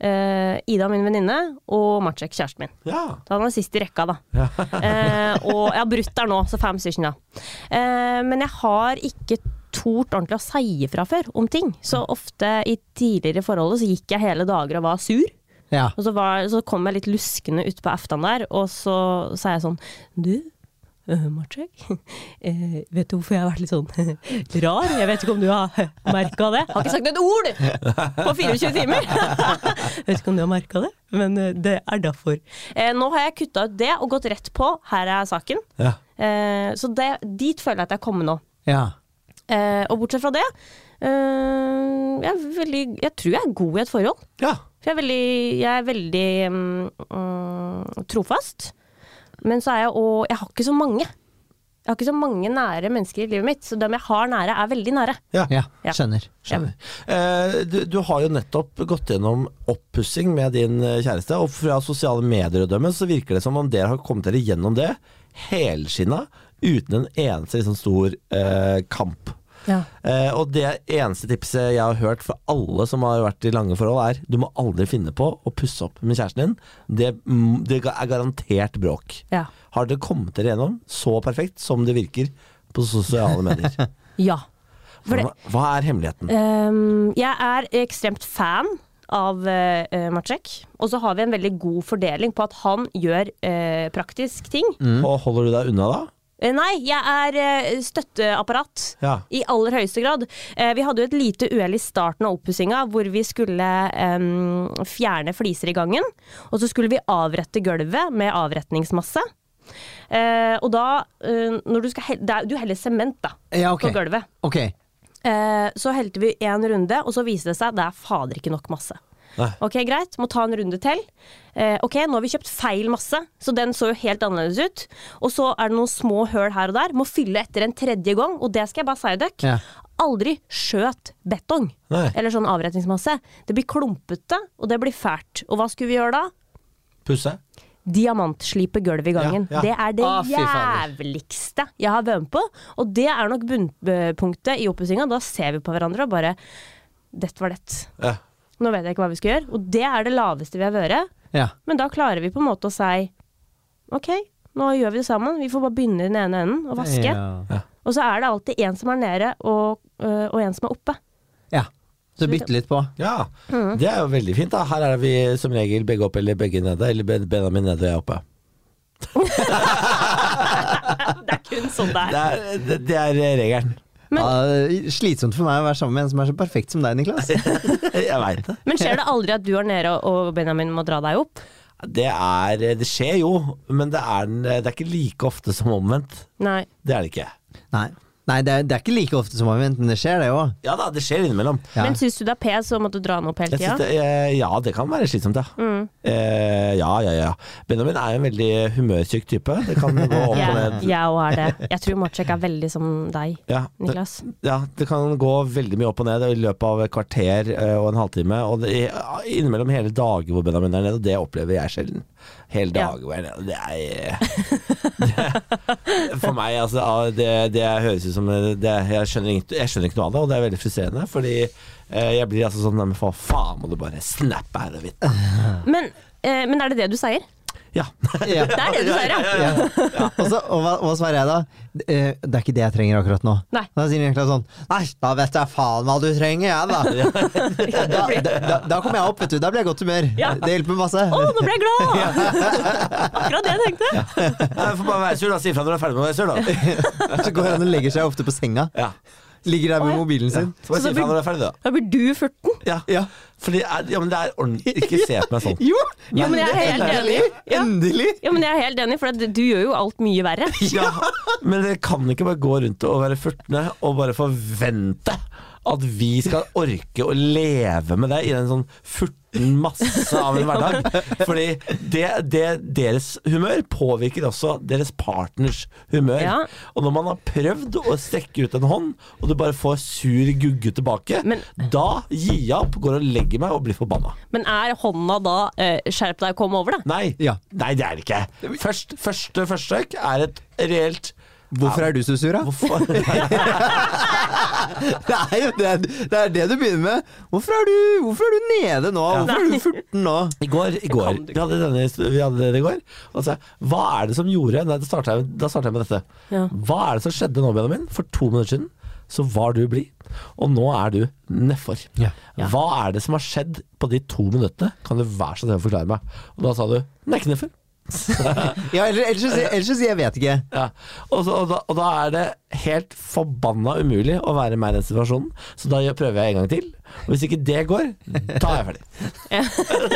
Speaker 4: eh, Ida, min venninne, og Matsjek, kjæresten min.
Speaker 2: Ja.
Speaker 4: Da han er sist i rekka, da. eh, og jeg har brutt der nå, så fem stykker, da. Eh, men jeg har ikke tort ordentlig å si ifra før om ting. Så ofte i tidligere forhold så gikk jeg hele dager og var sur.
Speaker 3: Ja.
Speaker 4: Og så, var, så kom jeg litt luskende ut på aftan der, og så sa jeg sånn Du, uh, Marcek, eh, vet du hvorfor jeg har vært litt sånn rar? Jeg vet ikke om du har merka det? Har ikke sagt et ord på 24 timer! jeg vet ikke om du har merka det, men eh, det er derfor. Eh, nå har jeg kutta ut det og gått rett på. Her er saken.
Speaker 2: ja.
Speaker 4: Eh, så det, dit føler jeg at jeg kommer nå.
Speaker 3: ja.
Speaker 4: Eh, og bortsett fra det, eh, jeg, er veldig, jeg tror jeg er god i et forhold.
Speaker 2: Ja.
Speaker 4: For jeg er veldig, jeg er veldig mm, mm, trofast. Men så er jeg og Jeg har ikke så mange. Jeg har ikke så mange nære mennesker i livet mitt, så dem jeg har nære, er veldig nære.
Speaker 2: ja.
Speaker 3: ja.
Speaker 4: Ja.
Speaker 3: Skjønner.
Speaker 2: Skjønner. Eh, du, du har jo nettopp gått gjennom oppussing med din eh, kjæreste, og fra sosiale medier å dømme så virker det som om dere har kommet dere gjennom det helskinna, uten en eneste liksom, stor eh, kamp. Eh, og det eneste tipset jeg har hørt fra alle som har vært i lange forhold, er du må aldri finne på å pusse opp med kjæresten din. Det, mm, det er garantert bråk.
Speaker 4: Ja.
Speaker 2: Har dere kommet dere gjennom så perfekt som det virker på sosiale medier?
Speaker 4: Ja. For
Speaker 2: Hva, hva er hemmeligheten?
Speaker 4: Ehm, jeg er ekstremt fan av eh, Matsjek. Og så har vi en veldig god fordeling på at han gjør eh, praktisk ting.
Speaker 2: Og holder du deg unna da?
Speaker 4: Eh, Nei, jeg er eh, støtteapparat.
Speaker 2: Ja.
Speaker 4: I aller høyeste grad. Eh, Vi hadde jo et lite uhell i starten av oppussinga, hvor vi skulle em, fjerne fliser i gangen. Og så skulle vi avrette gulvet med avretningsmasse. Eh, og da, eh, når du skal helle det er- Du heller sement, da,
Speaker 3: Ja, Eh, ok.
Speaker 4: på gulvet.
Speaker 3: Ok.
Speaker 4: Eh, så helte vi én runde, og så viser det seg det er fader ikke nok masse.
Speaker 2: Nei.
Speaker 4: Ok, greit, må ta en runde til. Eh, ok, nå har vi kjøpt feil masse, så den så jo helt annerledes ut. Og så er det noen små høl her og der. Må fylle etter en tredje gang, og det skal jeg bare si dere.
Speaker 3: Ja.
Speaker 4: Aldri skjøt betong.
Speaker 2: Nei.
Speaker 4: Eller sånn avretningsmasse. Det blir klumpete, og det blir fælt. Og hva skulle vi gjøre da?
Speaker 2: Pusse?
Speaker 4: Diamantslipe gulvet i gangen.
Speaker 2: Ja, ja.
Speaker 4: Det er det
Speaker 3: Ah, fy fader.
Speaker 4: jævligste jeg har vært med på. Og det er nok bunnpunktet i oppussinga. Da ser vi på hverandre og bare Dette var det.
Speaker 2: Ja.
Speaker 4: Nå vet jeg ikke hva vi skal gjøre. Og det er det laveste vi har vært.
Speaker 3: Ja.
Speaker 4: Men da klarer vi på en måte å si OK, nå gjør vi det sammen. Vi får bare begynne i den ene enden og vaske.
Speaker 3: Ja.
Speaker 4: Og så er det alltid en som er nede, og, øh, og en som er oppe.
Speaker 3: ja. Så bytte litt på.
Speaker 2: ja. Det er jo veldig fint. da Her er vi som regel begge opp eller begge nede. Eller Ben- Benjamin nede og jeg oppe.
Speaker 4: Det er kun sånn det er.
Speaker 2: Det er, det, det er regelen.
Speaker 4: Men-
Speaker 3: Ja, slitsomt for meg å være sammen med en som er så perfekt som deg, Niklas.
Speaker 2: Jeg veit det.
Speaker 4: Men skjer det aldri at du er nede og Benjamin må dra deg opp?
Speaker 2: Det, er, det skjer jo, men det er, det er ikke like ofte som omvendt.
Speaker 4: Nei.
Speaker 2: Det er det ikke.
Speaker 3: Nei, Nei det, er, det er ikke like ofte som omvendt, men det skjer, det òg.
Speaker 2: Ja da, det skjer innimellom.
Speaker 3: Ja.
Speaker 4: Men syns du det er pes å måtte dra han opp hele
Speaker 2: Jeg synes
Speaker 4: tida?
Speaker 2: det, eh, ja, det kan være slitsomt, ja. Eh, ja, ja, ja. Benjamin er jo en veldig humørsyk type. Det kan gå opp og
Speaker 4: Jeg
Speaker 2: ned.
Speaker 4: jeg òg er det. Jeg tror Matsjek er veldig som deg,
Speaker 2: Ja, det,
Speaker 4: Niklas.
Speaker 2: ja, det kan gå veldig mye opp og ned i løpet av et kvarter eh, og en halvtime. Og det, innimellom hele dager hvor Benjamin er nede, og det opplever jeg sjelden. Hele
Speaker 4: Ja.
Speaker 2: dager hvor jeg er nede. Det er eh, det, For meg, altså. ah, Det, det høres ut som eh, det, jeg, skjønner ikke, jeg skjønner ikke noe av det, og det er veldig frustrerende. Fordi eh, jeg blir altså sånn Nei, men for faen må du bare snappe out of it.
Speaker 4: Men, eh, men er det det du sier?
Speaker 2: Ja.
Speaker 3: Ja.
Speaker 4: Det er det du sier, ja!
Speaker 3: Ja. Og, så, og hva, hva svarer jeg da? Eh, Det er ikke det jeg trenger akkurat nå.
Speaker 4: Nei.
Speaker 3: Da sier Niklas sånn Nei, da vet jeg faen hva du trenger, jeg, da. da, da, da kommer jeg opp, vet du. Da blir jeg i godt humør.
Speaker 4: Ja.
Speaker 3: Det hjelper masse.
Speaker 4: Å, nå ble jeg glad! Akkurat det jeg tenkte.
Speaker 2: Nei, får bare være sur, da. Si ifra når du er ferdig med å være sur, da.
Speaker 3: Så går han og legger seg ofte på senga.
Speaker 2: Ja.
Speaker 3: Ligger der
Speaker 4: Å,
Speaker 3: med
Speaker 4: ja.
Speaker 3: mobilen sin.
Speaker 2: Så bare
Speaker 4: Så
Speaker 2: si
Speaker 4: det
Speaker 2: ifra
Speaker 4: blir-
Speaker 2: når du er ferdig, da.
Speaker 4: Da blir du furten.
Speaker 2: Ja.
Speaker 3: Ja.
Speaker 2: Fordi, er- ja, men det er ordentlig Ikke se på meg sånn.
Speaker 3: Jo!
Speaker 4: Jo, men jeg er helt
Speaker 3: endelig!
Speaker 4: enig. Ja.
Speaker 3: Endelig!
Speaker 4: Ja, men jeg er helt enig, for at du gjør jo alt mye verre.
Speaker 2: Ja, men dere kan ikke bare gå rundt og være furtne og bare forvente at vi skal orke å leve med det i en sånn furten masse av en hverdag. Fordi det, det, deres humør påvirker også deres partners humør.
Speaker 4: Ja.
Speaker 2: Og når man har prøvd å strekke ut en hånd, og du bare får sur gugge tilbake,
Speaker 4: Men-
Speaker 2: da gir jeg opp, går og legger meg og blir forbanna.
Speaker 4: Men er hånda da eh, 'skjerp deg, kom over', da?
Speaker 2: Nei,
Speaker 3: Ja.
Speaker 2: Nei det er det ikke. Først, første forsøk er et reelt
Speaker 3: Hvorfor er du så sur, da?
Speaker 2: Hvorfor?
Speaker 3: Det er jo det, det, er det du begynner med. Hvorfor er du, hvorfor er du nede nå? Hvorfor er du 14 nå?
Speaker 2: I går, i går
Speaker 4: kan du
Speaker 2: vi, hadde denne, vi hadde den i går. Og så, hva er det som gjorde Nei, da starta jeg, da startet jeg med dette.
Speaker 4: Ja.
Speaker 2: Hva er det som skjedde nå, Benjamin? For to minutter siden så var du blid, og nå er du nedfor.
Speaker 3: Ja.
Speaker 2: Hva er det som har skjedd på de to minuttene? Kan du være så snill å forklare meg? Og da sa du nei, kneffer.
Speaker 3: Ja, eller- ellers så sier- ellers så sier jeg 'vet ikke'.
Speaker 2: Ja. Og, så, og, da, og da er det helt forbanna umulig å være meg i den situasjonen, så da gjør- prøver jeg en gang til. Og hvis ikke det går, da er jeg ferdig.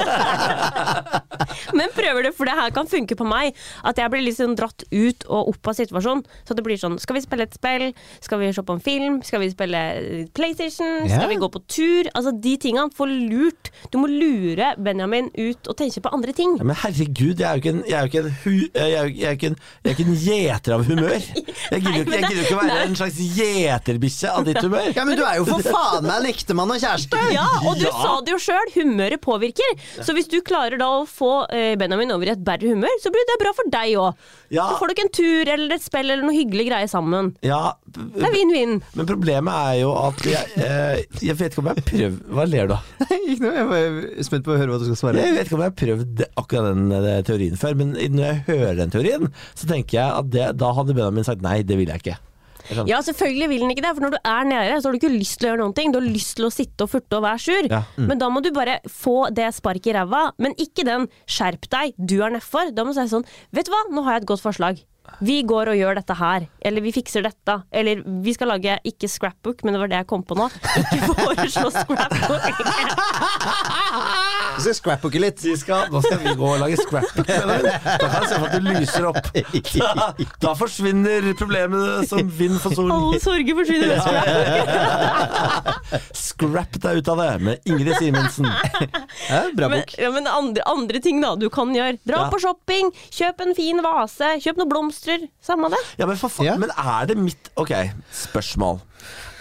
Speaker 4: Men prøver du, for det her kan funke på meg. At jeg blir liksom dratt ut og opp av situasjonen. Så det blir sånn Skal vi spille et spill? Skal vi se på en film? Skal vi spille eh, PlayStation?
Speaker 3: Ja.
Speaker 4: Skal vi gå på tur? Altså de tingene. Få lurt. Du må lure Benjamin ut og tenke på andre ting.
Speaker 2: Ja, men herregud, jeg er jo ikke en Jeg er jo ikke en, hu, jeg er jo, jeg er ikke en, jeg er ikke en gjeter av humør. Jeg gidder jo ikke, jeg gidder jo ikke å være en slags gjeterbikkje av ditt humør.
Speaker 3: Ja, men du er jo for faen meg en ektemann og kjæreste!
Speaker 4: Ja, og du
Speaker 2: Ja.
Speaker 4: sa det jo sjøl, humøret påvirker. Så hvis du klarer da å få eh, Benjamin over i et bedre humør, så blir det bra for deg òg.
Speaker 2: Ja.
Speaker 4: Så får dere en tur eller et spill eller noe hyggelig greie sammen.
Speaker 2: Ja,
Speaker 4: Det er vinn-vinn.
Speaker 2: men problemet er jo at jeg, eh, jeg vet ikke om jeg har prøvd Hva ler du av?
Speaker 3: Ikke noe, jeg var spent på å høre hva du skal svare.
Speaker 2: Jeg vet ikke om jeg har prøvd akkurat den eh, teorien før, men når jeg hører den teorien, så tenker jeg at det, da hadde Benjamin sagt nei, det vil jeg ikke. Jeg skjønner.
Speaker 4: Ja, selvfølgelig vil den ikke det, for når du er nede, så har du ikke lyst til å gjøre noen ting. Du har lyst til å sitte og furte og være sur.
Speaker 2: Ja.
Speaker 4: Men da må du bare få det sparket i ræva, men ikke den 'skjerp deg, du er nedfor'. Da må du si sånn 'vet du hva, nå har jeg et godt forslag'. Vi går og gjør dette her, eller vi fikser dette. Eller vi skal lage ikke scrapbook, men det var det jeg kom på nå. Ikke foreslå scrapbook.
Speaker 3: Du skal scrapbooke litt.
Speaker 2: Vi skal, nå skal vi gå og lage scrapbook. mener du? Da kan jeg se for at du lyser opp. Da, da forsvinner problemene som vind for solen.
Speaker 4: Alle sorger forsvinner med scrapbook.
Speaker 2: Scrap deg ut av det med Ingrid Simensen.
Speaker 3: Ja, bra
Speaker 4: Men,
Speaker 3: bok.
Speaker 4: ja, men andre, andre ting da du kan gjøre. Dra
Speaker 2: Ja.
Speaker 4: på shopping, kjøp en fin vase, kjøp noen blomster. Samme det.
Speaker 2: Ja, men, for faen,
Speaker 3: Ja.
Speaker 2: men er det mitt Ok, spørsmål.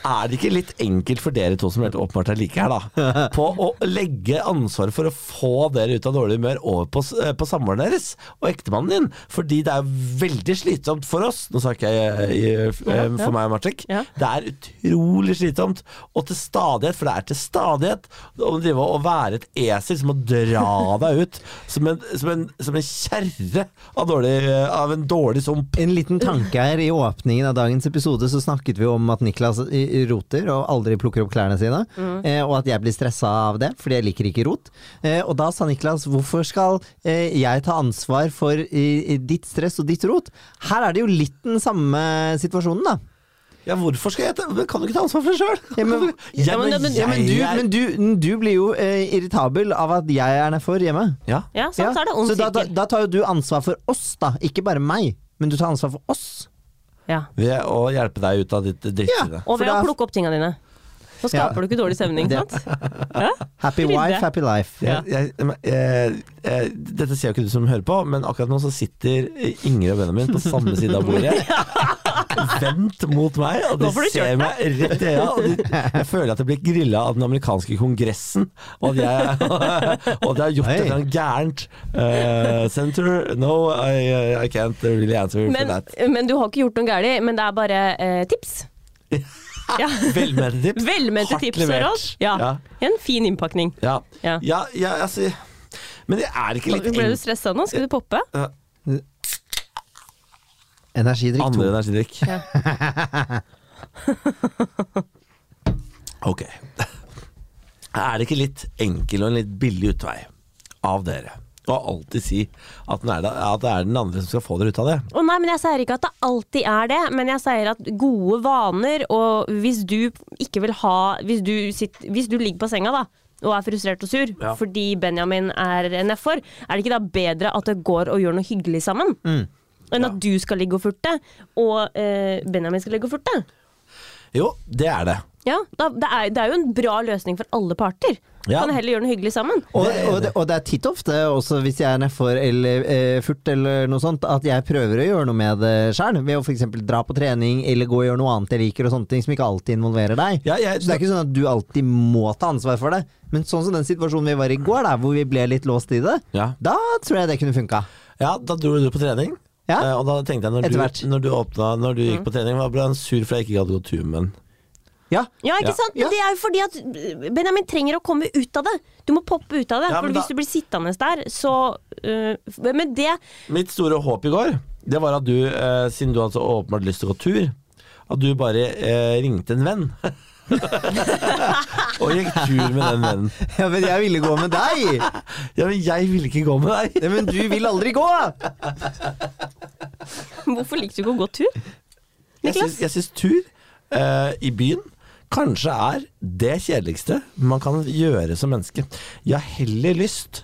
Speaker 2: Er det ikke litt enkelt for dere to som helt åpenbart er like her, da, på å legge ansvaret for å få dere ut av dårlig humør over på, s- eh, på samboeren deres og ektemannen din? Fordi det er veldig slitsomt for oss, nå snakker jeg eh, i, i, for meg og Marcek,
Speaker 4: Ja.
Speaker 2: det er utrolig slitsomt, og til stadighet, for det er til stadighet, å drive og være et esel som må dra deg ut som en, som en, som en kjerre av, dårlig- eh, av en dårlig sånn sump.
Speaker 3: En liten tanke her. I åpningen av dagens episode så snakket vi om at Niklas i- i roter og aldri plukker opp klærne sine.
Speaker 4: Mm.
Speaker 3: Eh, og at jeg blir stressa av det, fordi jeg liker ikke rot. Eh, og da sa Niklas hvorfor skal eh, jeg ta ansvar for i, i ditt stress og ditt rot? Her er det jo litt den samme situasjonen, da.
Speaker 2: Ja, hvorfor skal jeg ta Men kan du ikke ta ansvar for det sjøl?
Speaker 3: Ja, men-
Speaker 2: ja, men,
Speaker 4: ja, men-
Speaker 3: Ja, men du,
Speaker 2: jeg er-
Speaker 3: men du, du blir jo eh, irritabel av at jeg er nedfor hjemme.
Speaker 2: ja.
Speaker 4: Ja, sånn, så er det ond
Speaker 3: Så da, da,
Speaker 4: sirkel.
Speaker 3: da tar jo du ansvar for oss, da. Ikke bare meg, men du tar ansvar for oss.
Speaker 4: Ja.
Speaker 2: Ved å hjelpe deg ut av ditt drittsinne.
Speaker 4: Og
Speaker 3: for
Speaker 4: ved
Speaker 3: da-
Speaker 4: å plukke opp tinga dine. Så
Speaker 3: Ja.
Speaker 4: skaper du ikke dårlig stemning.
Speaker 3: Det-
Speaker 4: Sant?
Speaker 3: Happy
Speaker 4: Rydde.
Speaker 3: wife, happy life.
Speaker 4: Ja.
Speaker 2: Jeg, men, eh, eh, dette sier jo ikke du som hører på, men akkurat nå så sitter Ingrid og Benjamin på samme side av bordet. Vendt mot meg, og
Speaker 4: Nå får
Speaker 2: de
Speaker 4: du
Speaker 2: ser
Speaker 4: kjørt
Speaker 2: meg rett i øya. og de- Jeg føler at jeg blir grilla av den amerikanske kongressen, og at jeg, og at jeg har gjort
Speaker 3: Hei.
Speaker 2: et eller annet gærent. Eh, senator, no, I, I can't really answer for
Speaker 4: Men,
Speaker 2: that.
Speaker 4: men du har ikke gjort noe galt, men det er bare eh, tips. Ja.
Speaker 2: Velmente tips.
Speaker 4: Velmente
Speaker 2: Hardt
Speaker 4: tips,
Speaker 2: levert.
Speaker 4: Harald. Ja. En fin innpakning.
Speaker 2: Ja.
Speaker 4: Ja.
Speaker 2: ja, ja altså Men det er ikke litt Eh,
Speaker 4: Ble du
Speaker 2: enkelt
Speaker 4: stressa nå? Skal du poppe?
Speaker 3: Energidrikk
Speaker 2: Andre
Speaker 3: 2.
Speaker 2: energidrikk.
Speaker 4: Ja.
Speaker 2: ok. Er det ikke litt enkel og en litt billig utvei av dere å alltid si at, den er det, at det er den andre som skal få dere ut av det?
Speaker 4: Å nei, men jeg sier ikke at det alltid er det, men jeg sier at gode vaner, og hvis du ikke vil ha Hvis du, sitt- hvis du ligger på senga, da. Og er frustrert og sur
Speaker 2: Ja.
Speaker 4: fordi Benjamin er nedfor. Er det ikke da bedre at det går og gjør noe hyggelig sammen?
Speaker 2: Mm.
Speaker 4: Enn at du skal ligge og furte, og eh, Benjamin skal ligge og furte?
Speaker 2: Jo, det er det.
Speaker 4: Ja, da, det, er, det er jo en bra løsning for alle parter.
Speaker 2: Ja.
Speaker 4: Kan heller gjøre noe hyggelig sammen.
Speaker 3: Og, og, det, og det er titt ofte, også hvis jeg er nedfor eller eh, furt eller noe sånt, at jeg prøver å gjøre noe med det sjøl. Ved å f.eks. dra på trening eller gå og gjøre noe annet jeg liker, og sånne ting som ikke alltid involverer deg.
Speaker 2: Ja, jeg-
Speaker 3: så det er ikke sånn at du alltid må ta ansvar for det. Men sånn som den situasjonen vi var i går, da, hvor vi ble litt låst i det,
Speaker 2: Ja.
Speaker 3: da tror jeg det kunne funka.
Speaker 2: Ja, da dro du på trening.
Speaker 3: Ja.
Speaker 2: Eh, Og da tenkte jeg,
Speaker 3: Etter
Speaker 2: når
Speaker 3: hvert.
Speaker 2: du, når du, åpna, når du gikk
Speaker 4: Mm.
Speaker 2: på trening, da ble han sur fordi jeg ikke hadde gått tur med den.
Speaker 3: Ja.
Speaker 4: Ja, ikke
Speaker 2: Ja.
Speaker 4: sant? Men
Speaker 3: Ja.
Speaker 4: det er jo fordi at eh, Benjamin trenger å komme ut av det. Du må poppe ut av det.
Speaker 2: Ja,
Speaker 4: for
Speaker 2: men da-
Speaker 4: hvis du blir sittende der, så øh, Men det
Speaker 2: Mitt store håp i går, det var at du, eh, siden du hadde så åpenbart lyst til å gå tur, at du bare eh, ringte en venn. og gikk tur med den vennen.
Speaker 3: ja, men jeg ville gå med deg!
Speaker 2: Ja, men jeg ville ikke gå med deg.
Speaker 3: Ja, men du vil aldri gå!
Speaker 4: Hvorfor likte du ikke å gå tur?
Speaker 2: Jeg
Speaker 4: Niklas?
Speaker 2: syns, jeg syns tur eh, i byen kanskje er det kjedeligste man kan gjøre som menneske. Jeg har heller lyst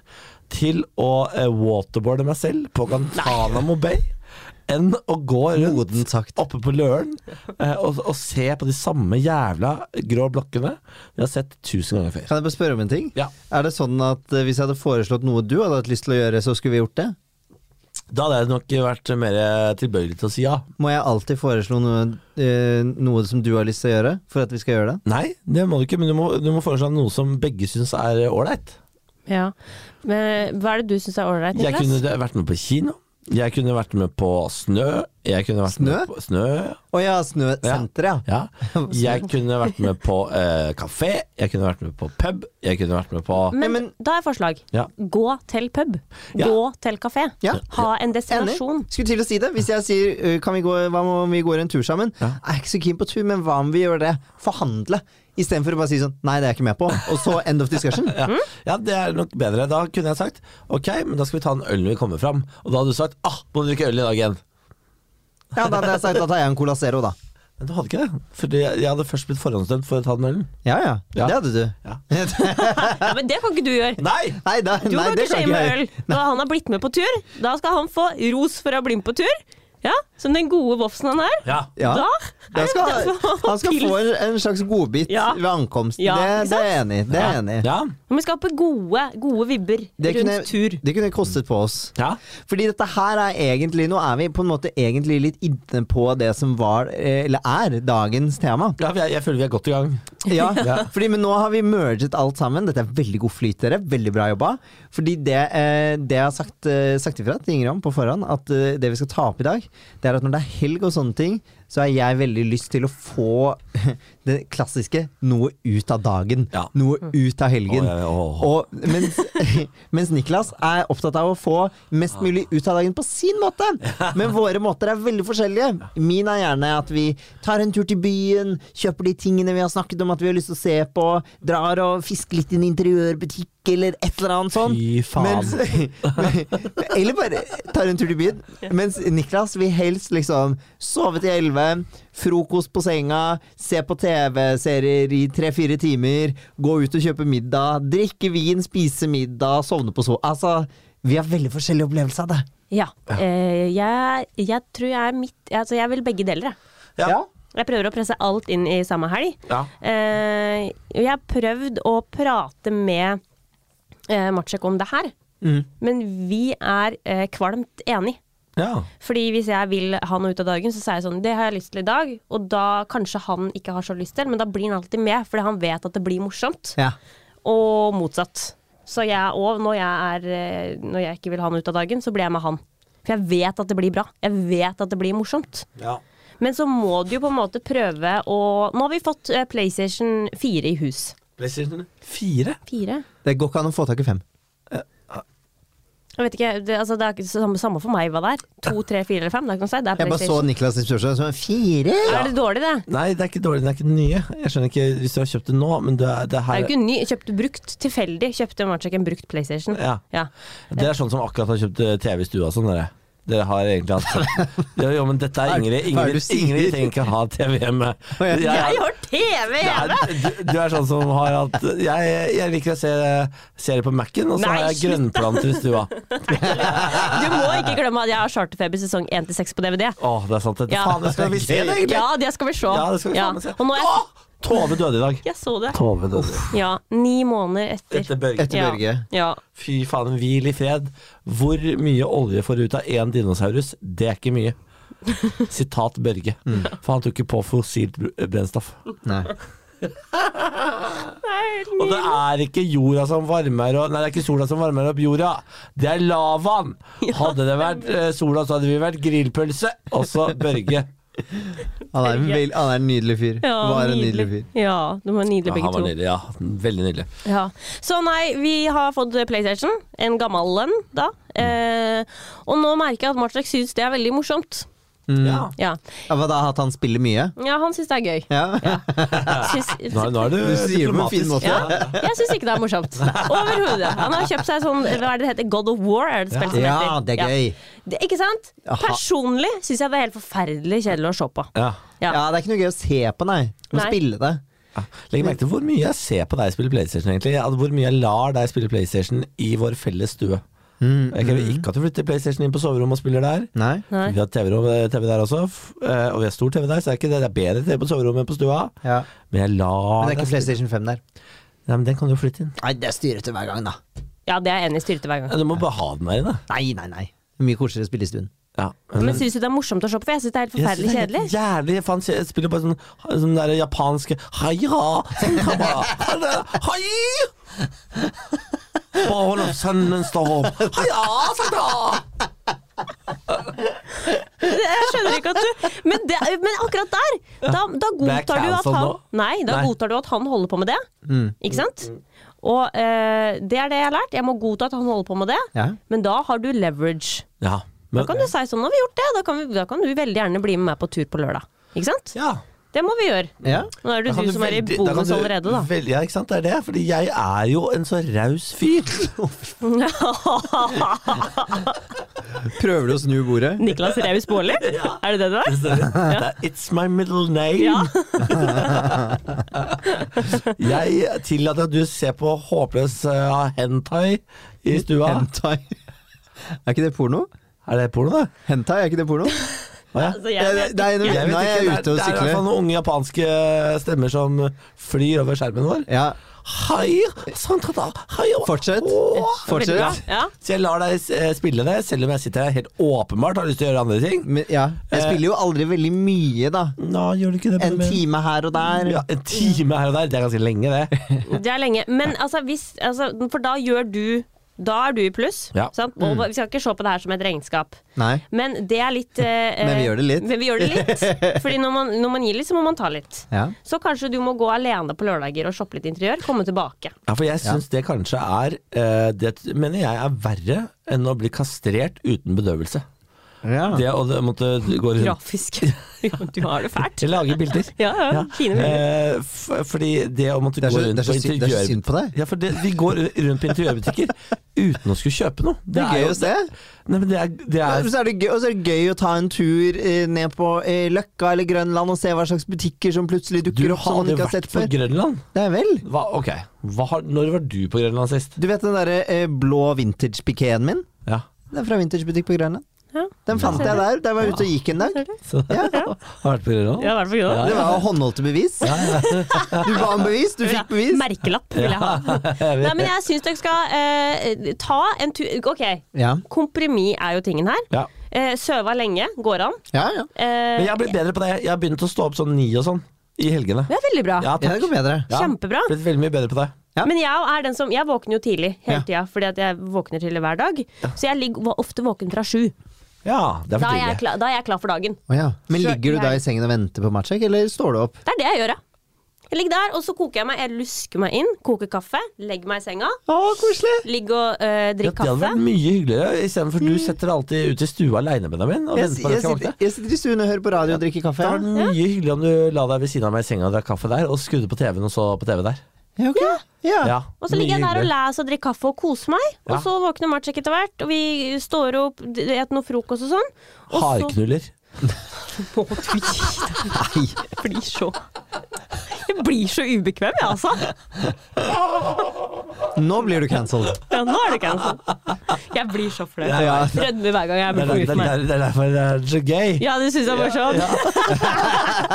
Speaker 2: til å eh, waterboarde meg selv på Guantánamo Bay enn å gå rundt
Speaker 3: Modent sagt.
Speaker 2: oppe på Løren eh, og, og se på de samme jævla grå blokkene jeg har sett tusen ganger før.
Speaker 3: Kan jeg bare spørre om en ting?
Speaker 2: Ja.
Speaker 3: Er det sånn at eh, hvis jeg hadde foreslått noe du hadde hatt lyst til å gjøre, så skulle vi gjort det?
Speaker 2: Da hadde jeg nok vært mer tilbøyelig til å si ja.
Speaker 3: Må jeg alltid foreslå noe, eh, noe som du har lyst til å gjøre, for at vi skal gjøre det?
Speaker 2: Nei, det må du ikke, men du må, du må foreslå noe som begge syns er eh, ålreit.
Speaker 4: Ja. Men hva er det du syns er ålreit,
Speaker 2: Jeg
Speaker 4: Niklas?
Speaker 2: kunne vært med på kino. Jeg kunne vært med på snø. Jeg kunne vært med
Speaker 3: Snø?
Speaker 2: på snø. ja.
Speaker 3: Å ja, Snøsenteret, ja.
Speaker 2: Ja. Jeg kunne vært med på eh, kafé, jeg kunne vært med på pub, jeg kunne vært med på
Speaker 4: Men,
Speaker 3: men-
Speaker 4: da er forslag.
Speaker 2: Ja.
Speaker 4: Gå til pub.
Speaker 2: Ja.
Speaker 4: Gå til kafé.
Speaker 3: Ja.
Speaker 4: Ha en
Speaker 3: Enig.
Speaker 4: destinasjon.
Speaker 3: Skulle til å si det. Hvis jeg sier ø, kan vi gå, hva om vi går en tur sammen? Jeg er ikke så keen på tur, men hva om vi gjør det? Forhandle. Istedenfor å bare si sånn nei, det er jeg ikke med på. Og så end of discussion.
Speaker 2: ja. ja, det er nok bedre. Da kunne jeg sagt ok, men da skal vi ta en øl når vi kommer fram. Og da hadde du sagt ah, må du drikke øl i dag igjen.
Speaker 3: Ja, da hadde jeg sagt da tar jeg en Cola Zero, da.
Speaker 2: Men du hadde ikke det. Fordi jeg hadde først blitt forhåndsdømt for å ta den ølen.
Speaker 3: Ja, ja.
Speaker 2: Ja.
Speaker 3: Det hadde du.
Speaker 2: Ja.
Speaker 4: Ja, men det kan ikke du gjøre.
Speaker 2: Nei!
Speaker 3: Nei, da,
Speaker 4: Du
Speaker 3: nei,
Speaker 4: kan
Speaker 3: det
Speaker 4: ikke
Speaker 3: kan
Speaker 4: shame
Speaker 3: ikke
Speaker 4: øl.
Speaker 3: jeg.
Speaker 4: Da han har blitt med på tur, da skal han få ros for å ha blitt med på tur. Ja, Som den gode vofsen han er.
Speaker 2: Ja.
Speaker 3: Ja.
Speaker 4: Da
Speaker 3: Da
Speaker 4: er det
Speaker 3: skal,
Speaker 4: da skal han
Speaker 3: han skal
Speaker 4: pils.
Speaker 3: få en, en slags godbit
Speaker 4: Ja.
Speaker 3: ved ankomsten.
Speaker 4: Ja, ikke
Speaker 3: det, det
Speaker 4: sant?
Speaker 3: er jeg enig. i, Det er jeg enig. i.
Speaker 2: Ja.
Speaker 4: Men Vi skaper gode, gode vibber
Speaker 3: Det
Speaker 4: rundt
Speaker 3: kunne,
Speaker 4: tur.
Speaker 3: det kunne kostet på oss.
Speaker 2: ja.
Speaker 3: Fordi dette her er egentlig Nå er vi på en måte egentlig litt inne på det som var, eh, eller er, dagens tema.
Speaker 2: ja jeg, jeg føler vi er godt i gang.
Speaker 3: Ja, fordi, men nå har vi merget alt sammen. Dette er veldig god flyt, dere. Veldig bra jobba. Fordi det, eh, det jeg har sagt, eh, sagt ifra til Ingrid om på forhånd, at eh, det vi skal ta opp i dag, det er at når det er helg og sånne ting, så har jeg veldig lyst til å få det klassiske noe ut av dagen.
Speaker 2: Ja.
Speaker 3: Noe ut av helgen.
Speaker 2: Å, jeg- å.
Speaker 3: Og mens, mens Niklas er opptatt av å få mest mulig ut av dagen på sin måte. Men våre måter er veldig forskjellige. Min er gjerne at vi tar en tur til byen, kjøper de tingene vi har snakket om at vi har lyst til å se på, drar og fisker litt i en interiørbutikk eller et eller annet sånt.
Speaker 2: Fy faen.
Speaker 3: Mens, eller bare tar en tur til byen. Mens Niklas vil helst liksom sove til elleve, frokost på senga, se på TV-serier i tre-fire timer, gå ut og kjøpe middag, drikke vin, spise middag, sovne på so... Altså, vi har veldig forskjellige opplevelser av det.
Speaker 4: Ja. Eh, jeg, jeg tror jeg er midt altså Jeg vil begge deler, jeg.
Speaker 2: Ja.
Speaker 4: Jeg prøver å presse alt inn i samme helg.
Speaker 2: Ja.
Speaker 4: Eh, jeg har prøvd å prate med eh, Matsjek om det her, men vi er eh, kvalmt enig.
Speaker 2: Ja.
Speaker 4: Fordi hvis jeg vil ha noe ut av dagen, så sier jeg sånn Det har jeg lyst til i dag, og da kanskje han ikke har så lyst til, men da blir han alltid med, fordi han vet at det blir morsomt.
Speaker 3: Ja.
Speaker 4: Og motsatt. Så jeg òg, når, jeg er, eh, når jeg ikke vil ha noe ut av dagen, så blir jeg med han. For jeg vet at det blir bra. Jeg vet at det blir morsomt.
Speaker 2: ja.
Speaker 4: Men så må du jo på en måte prøve å Nå har vi fått eh, PlayStation 4 i hus.
Speaker 2: PlayStation 4.
Speaker 4: Fire?
Speaker 3: Det går ikke an å få tak i fem.
Speaker 4: Jeg vet ikke, det, altså, det er ikke samme, samme for meg hva det er. To, tre, fire eller fem. Det er ikke noe å si. Det er
Speaker 3: Jeg bare så
Speaker 4: PlayStation.
Speaker 3: Niklas' spørsmål som en fire.
Speaker 4: Er det dårlig, det?
Speaker 2: Nei, det er ikke dårlig, det er ikke den nye. Jeg skjønner ikke hvis du har kjøpt det nå, men det er, det
Speaker 4: Det er
Speaker 2: her
Speaker 4: jo ikke ny. Kjøpt brukt tilfeldig. Kjøpte Marcek en brukt PlayStation.
Speaker 2: Ja.
Speaker 4: Ja.
Speaker 2: Det er sånn som akkurat har kjøpt eh, TV i stua og sånn, dere. Dere har egentlig hatt Jo, jo, men dette er Ingrid.
Speaker 3: Hva er det
Speaker 2: Ingrid,
Speaker 3: du sier?
Speaker 2: Ingrid trenger ikke ha TV hjemme.
Speaker 3: ja.
Speaker 2: Jeg-
Speaker 4: Jeg har TV hjemme!
Speaker 2: Nei, du, du er sånn som har hatt Jeg, jeg liker å se serier på Mac-en, og så
Speaker 4: Nei,
Speaker 2: har jeg
Speaker 4: slutt,
Speaker 2: grønnplanter i stua.
Speaker 4: Du må ikke glemme at jeg har Charterfeber sesong 1-6 på DVD.
Speaker 2: Å, det er sant. Det,
Speaker 4: Ja.
Speaker 2: Faen, det skal vi se, det, egentlig!
Speaker 4: Ja, det skal vi se.
Speaker 2: Ja, det skal vi faen meg se.
Speaker 4: Og nå er jeg,
Speaker 2: Å! Tove døde i dag.
Speaker 4: jeg så det.
Speaker 2: Tove døde.
Speaker 4: Ja, Ni måneder etter.
Speaker 2: Etter Børge.
Speaker 3: Etter Børge.
Speaker 4: Ja.
Speaker 2: Fy faen, hvil i fred. Hvor mye olje får du ut av én dinosaurus? Det er ikke mye. Sitat Børge.
Speaker 4: Mm.
Speaker 2: For han tok ikke på fossilt br- eh, brennstoff.
Speaker 3: Nei.
Speaker 2: Og det er ikke jorda som varmer opp Nei, det er ikke sola som varmer opp jorda. Det er lavaen! Hadde det vært eh, sola, så hadde vi vært grillpølse. Også Børge.
Speaker 3: Han er en, vel- han er en nydelig fyr.
Speaker 4: Ja,
Speaker 3: Var en nydelig fyr.
Speaker 4: Ja, de var
Speaker 2: Ja,
Speaker 4: nydelige
Speaker 2: han
Speaker 4: begge
Speaker 2: var
Speaker 4: to.
Speaker 2: nydelig. Ja, veldig nydelig.
Speaker 4: Ja. Så nei, vi har fått PlayStation. En gammel en, da.
Speaker 2: Mm.
Speaker 4: Eh, og nå merker jeg at Marcek syns det er veldig morsomt.
Speaker 2: Ja.
Speaker 4: Ja,
Speaker 3: Ja, hva da, at han spiller mye?
Speaker 4: ja han syns det er gøy.
Speaker 3: Ja.
Speaker 4: Syns-
Speaker 2: Nå, nå er du,
Speaker 3: Du sier det på en fin
Speaker 2: diplomatisk.
Speaker 3: måte.
Speaker 4: ja, jeg syns ikke det er morsomt. Overhodet. Han har kjøpt seg sånn hva er det det heter, God of War, er det spillet som heter.
Speaker 3: Ja, det er gøy.
Speaker 4: Det, ikke sant?
Speaker 3: Aha.
Speaker 4: Personlig syns jeg det er helt forferdelig kjedelig å se på.
Speaker 2: Ja.
Speaker 4: Ja.
Speaker 3: Ja, det er ikke noe gøy å se på, nei. Men
Speaker 4: Nei.
Speaker 3: spille det.
Speaker 2: Ja. Legg merke til hvor mye jeg ser på deg spille PlayStation, egentlig. Ja, hvor mye jeg lar deg spille PlayStation i vår felles stue. Jeg krever ikke at du flytter PlayStation inn på soverommet og spiller der.
Speaker 3: Nei.
Speaker 4: Nei.
Speaker 2: Vi har TV-rom- TV der også, f- eh, og vi har stor TV der, så det er ikke det. Det er bedre TV på soverommet enn på stua.
Speaker 3: Ja.
Speaker 2: Men jeg lar
Speaker 3: Men det er ikke
Speaker 2: deg spille-
Speaker 3: PlayStation 5 der.
Speaker 2: Nei, men den kan du jo flytte inn.
Speaker 3: Nei, det er styrete hver gang, da.
Speaker 4: Ja, det er jeg enig i styrte hver gang.
Speaker 2: Ja, Du må bare ha den der inne.
Speaker 3: Nei, nei, nei. Mye koseligere å spille i stuen.
Speaker 2: Ja,
Speaker 4: Men syns du det er morsomt å se på? For jeg syns det er helt
Speaker 2: Jeg synes det
Speaker 4: forferdelig
Speaker 2: er
Speaker 4: kjedelig.
Speaker 2: helt Jævlig faen, jeg spiller bare sånn, sånn der japanske Haira! Sånn kan bare ha det. Hai! Barn of sønnen står opp. Haia, sagt da!
Speaker 4: Jeg skjønner ikke at du Men, det, men akkurat der! Da, da
Speaker 2: Det er
Speaker 4: godtar du at
Speaker 2: cancel
Speaker 4: han
Speaker 2: nå.
Speaker 4: Nei, da
Speaker 2: Nei. Mm.
Speaker 4: godtar du at han holder på med det. Ikke sant? Og eh, det er det jeg har lært. Jeg må godta at han holder på med det,
Speaker 3: Ja.
Speaker 4: men da har du leverage.
Speaker 2: Ja,
Speaker 4: Da
Speaker 2: men,
Speaker 4: kan du si sånn, nå har vi gjort det, da kan, vi, da kan du veldig gjerne bli med meg på tur på lørdag. Ikke sant?
Speaker 2: ja.
Speaker 4: Det må vi gjøre.
Speaker 3: ja.
Speaker 4: Nå er det
Speaker 2: Da kan
Speaker 4: du som er i
Speaker 2: veldig- da kan
Speaker 4: bonus
Speaker 2: du
Speaker 4: allerede, da.
Speaker 2: veldig- ja, ikke sant, det er det. Fordi jeg er jo en så raus fyr.
Speaker 3: Prøver du å snu bordet?
Speaker 4: Niklas Raus Baarli? Er det det du er?
Speaker 2: It's my middle name.
Speaker 4: Ja.
Speaker 2: Jeg tillater at du ser på håpløs eh, hentai i stua.
Speaker 3: Hentai. Er ikke det porno?
Speaker 2: Er det porno, det?
Speaker 3: Hentai, er ikke det porno? Eh,
Speaker 2: Hva er det?
Speaker 4: Altså, jeg vet
Speaker 3: Nei, nå
Speaker 2: Jeg vet
Speaker 3: nå er jeg
Speaker 2: ikke,
Speaker 3: ute og
Speaker 2: Det er i hvert fall
Speaker 3: sykler.
Speaker 2: noen unge japanske stemmer som flyr over skjermen vår.
Speaker 3: Ja,
Speaker 2: Hei, santata, hei, å-
Speaker 3: Fortsett.
Speaker 2: Åh.
Speaker 4: Veldig bra.
Speaker 3: Fortsett.
Speaker 4: Ja.
Speaker 2: Så jeg lar deg eh, spille det, selv om jeg sitter her helt åpenbart har lyst til å gjøre andre ting.
Speaker 3: Men, ja. Jeg spiller jo aldri veldig mye, da.
Speaker 2: Nå gjør du ikke det
Speaker 3: En time her og der.
Speaker 2: Ja, en time her og der, det er ganske lenge det.
Speaker 4: Det er lenge. Men altså, hvis, altså, for da gjør du Da er du i pluss.
Speaker 2: Ja.
Speaker 4: Sant?
Speaker 3: Mm.
Speaker 4: Og vi skal ikke se på det her som et regnskap.
Speaker 3: Nei.
Speaker 4: Men det er litt eh,
Speaker 3: Men vi gjør det litt.
Speaker 4: Men vi gjør det litt. Fordi når man, når man gir litt, så må man ta litt.
Speaker 3: Ja.
Speaker 4: Så kanskje du må gå alene på lørdager og shoppe litt interiør. Komme tilbake.
Speaker 2: Ja, for jeg syns det kanskje er eh, Det mener jeg er verre enn å bli kastrert uten bedøvelse.
Speaker 3: Ja.
Speaker 2: Det å det måtte gå
Speaker 3: Mm.
Speaker 2: rundt
Speaker 4: Grafisk. Ja, du har det fælt.
Speaker 2: Jeg lager bilder.
Speaker 4: Ja, ja. Fine bilder.
Speaker 2: Eh, f- fordi det å måtte
Speaker 3: Det er
Speaker 2: gå
Speaker 3: så-
Speaker 2: rundt
Speaker 3: det er så
Speaker 2: på
Speaker 3: synd- det er så
Speaker 2: interiør...
Speaker 3: synd på deg.
Speaker 2: Ja, for det, vi går rundt på interiørbutikker uten å skulle kjøpe noe.
Speaker 3: Det er gøy
Speaker 2: jo-
Speaker 3: å se.
Speaker 2: Nei, men det er, det
Speaker 3: Og
Speaker 2: er
Speaker 3: så er det gøy, og så er det gøy å ta en tur eh, ned på eh, Løkka eller Grønland og se hva slags butikker som plutselig
Speaker 2: Du
Speaker 3: dukker opp.
Speaker 2: har
Speaker 3: som man
Speaker 2: aldri
Speaker 3: ikke har
Speaker 2: vært
Speaker 3: sett
Speaker 2: på
Speaker 3: sånn før.
Speaker 2: Grønland?
Speaker 3: Det er vel.
Speaker 2: Hva, ok, Hva har, Når var du på Grønland sist?
Speaker 3: Du vet den derre eh, blå vintage-pikeen min?
Speaker 2: Ja.
Speaker 3: Den er fra vintagebutikk på Grønland.
Speaker 4: Ja.
Speaker 3: Den fant jeg der da jeg var ute og gikk en dag.
Speaker 4: Ser du?
Speaker 2: Så, Har vært på Grønland?
Speaker 4: Ja, i hvert fall ikke
Speaker 3: Det var håndholdte bevis. Du ba om bevis, du fikk bevis.
Speaker 4: Merkelapp vil jeg ha. Nei, men jeg syns dere skal eh, ta en tur Ok,
Speaker 3: Ja,
Speaker 4: kompromiss er jo tingen her.
Speaker 2: Ja.
Speaker 4: Eh, søva lenge går an.
Speaker 3: ja. ja.
Speaker 4: Eh,
Speaker 2: Men jeg har blitt bedre på det. Jeg har begynt å stå opp sånn ni og sånn i helgene.
Speaker 4: Det er veldig bra.
Speaker 2: Ja,
Speaker 3: ja det
Speaker 2: takk.
Speaker 3: går bedre.
Speaker 2: Ja.
Speaker 4: Kjempebra.
Speaker 2: Blitt veldig mye bedre på det.
Speaker 3: Ja.
Speaker 4: Men jeg er den som Jeg våkner jo tidlig hele
Speaker 3: Ja.
Speaker 4: tida, fordi at jeg våkner tidlig hver dag. Så jeg ligger var ofte våken fra sju.
Speaker 2: Ja, det er
Speaker 4: Da
Speaker 2: for
Speaker 4: er, jeg
Speaker 2: tidlig.
Speaker 4: klar, da er jeg klar for dagen.
Speaker 3: Å ja. Men
Speaker 4: Så
Speaker 3: ligger du da
Speaker 4: jeg-
Speaker 3: i sengen og venter på matchek, eller står du opp?
Speaker 4: Det er det jeg gjør, ja. Jeg ligger der, og så koker jeg meg. Jeg lusker meg inn, koker kaffe, legger meg i senga.
Speaker 3: Å, koselig!
Speaker 4: Ligger og øh,
Speaker 2: Ja,
Speaker 4: drikker
Speaker 2: det hadde
Speaker 4: kaffe. Mm.
Speaker 2: vært mye hyggeligere, istedenfor du setter deg alltid ut i stua aleine, Benjamin. Og
Speaker 3: Jeg,
Speaker 2: venter på at
Speaker 3: jeg,
Speaker 2: jeg skal
Speaker 3: sitter,
Speaker 2: våkne.
Speaker 3: jeg sitter i stuen og hører på radio og drikker
Speaker 2: Det
Speaker 3: kaffe.
Speaker 2: hadde vært mye hyggeligere om du la deg ved siden av meg i senga og drakk kaffe der, og skrudde på TV-en og så på TV der.
Speaker 3: Ja, ok. Ja.
Speaker 2: Ja,
Speaker 4: Og så
Speaker 2: mye
Speaker 4: ligger jeg der og
Speaker 2: hyggeligere.
Speaker 4: leser og drikker kaffe og koser meg.
Speaker 2: Ja.
Speaker 4: Og så våkner Matsjek etter hvert, og vi står opp, spiser noe frokost og sånn. Og
Speaker 2: Hardknuller.
Speaker 4: så må du gi deg. Jeg blir så Jeg blir så ubekvem, jeg, altså.
Speaker 3: Nå blir du cancelled.
Speaker 4: Ja, nå er det cancel. Jeg blir så flau.
Speaker 3: Ja.
Speaker 4: Rødmer hver gang jeg
Speaker 2: Det
Speaker 4: blir
Speaker 2: er der- det
Speaker 4: foruten
Speaker 2: er
Speaker 4: meg.
Speaker 2: der- det er derfor det er så gøy.
Speaker 4: Ja, det syns jeg var sånn.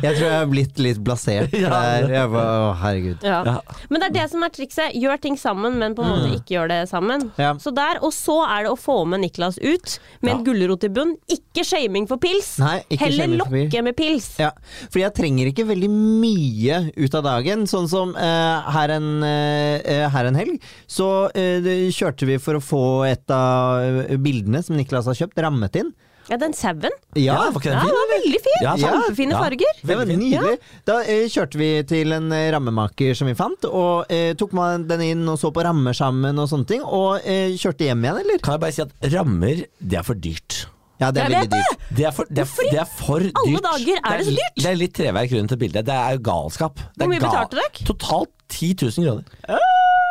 Speaker 3: Jeg tror jeg har blitt litt blasert
Speaker 2: Ja.
Speaker 3: der. Jeg var, å, herregud.
Speaker 4: Ja.
Speaker 2: Ja.
Speaker 4: Men det er det som er trikset. Gjør ting sammen, men på en måte ikke gjør det sammen.
Speaker 3: Ja.
Speaker 4: Så der, Og så er det å få med Niklas ut med en gulrot i bunn. Ikke shaming for pils!
Speaker 3: Nei, ikke
Speaker 4: Heller
Speaker 3: shaming for pils.
Speaker 4: lokke med pils!
Speaker 3: Ja, fordi jeg trenger ikke veldig mye ut av dagen. Sånn som eh, her, en, eh, her en helg, så eh, det- kjørte vi for å få et av eh, bildene som Niklas har kjøpt, rammet inn.
Speaker 4: Ja, den sauen.
Speaker 2: Ja, var ikke
Speaker 4: Ja,
Speaker 2: den
Speaker 4: den
Speaker 2: fin?
Speaker 4: var veldig fin!
Speaker 2: Ja, sant.
Speaker 4: Kjempefine
Speaker 2: Ja.
Speaker 4: farger.
Speaker 3: Det var
Speaker 2: Veldig fint.
Speaker 3: nydelig. Da eh, kjørte vi til en eh, rammemaker som vi fant, og eh, tok man den inn og så på rammer sammen og sånne ting, og eh, kjørte hjem igjen, eller?
Speaker 2: Kan jeg bare si at rammer, det er for dyrt.
Speaker 3: Ja, det er
Speaker 4: Jeg vet
Speaker 3: veldig dyrt.
Speaker 2: Det er for, det er, det er for dyrt.
Speaker 4: alle dager er det så dyrt?
Speaker 2: Det er litt treverk rundt et bilde. Det er jo galskap. Det er
Speaker 4: Hvor mye
Speaker 2: ga-
Speaker 4: betalte dere?
Speaker 2: Totalt 10 000 kroner.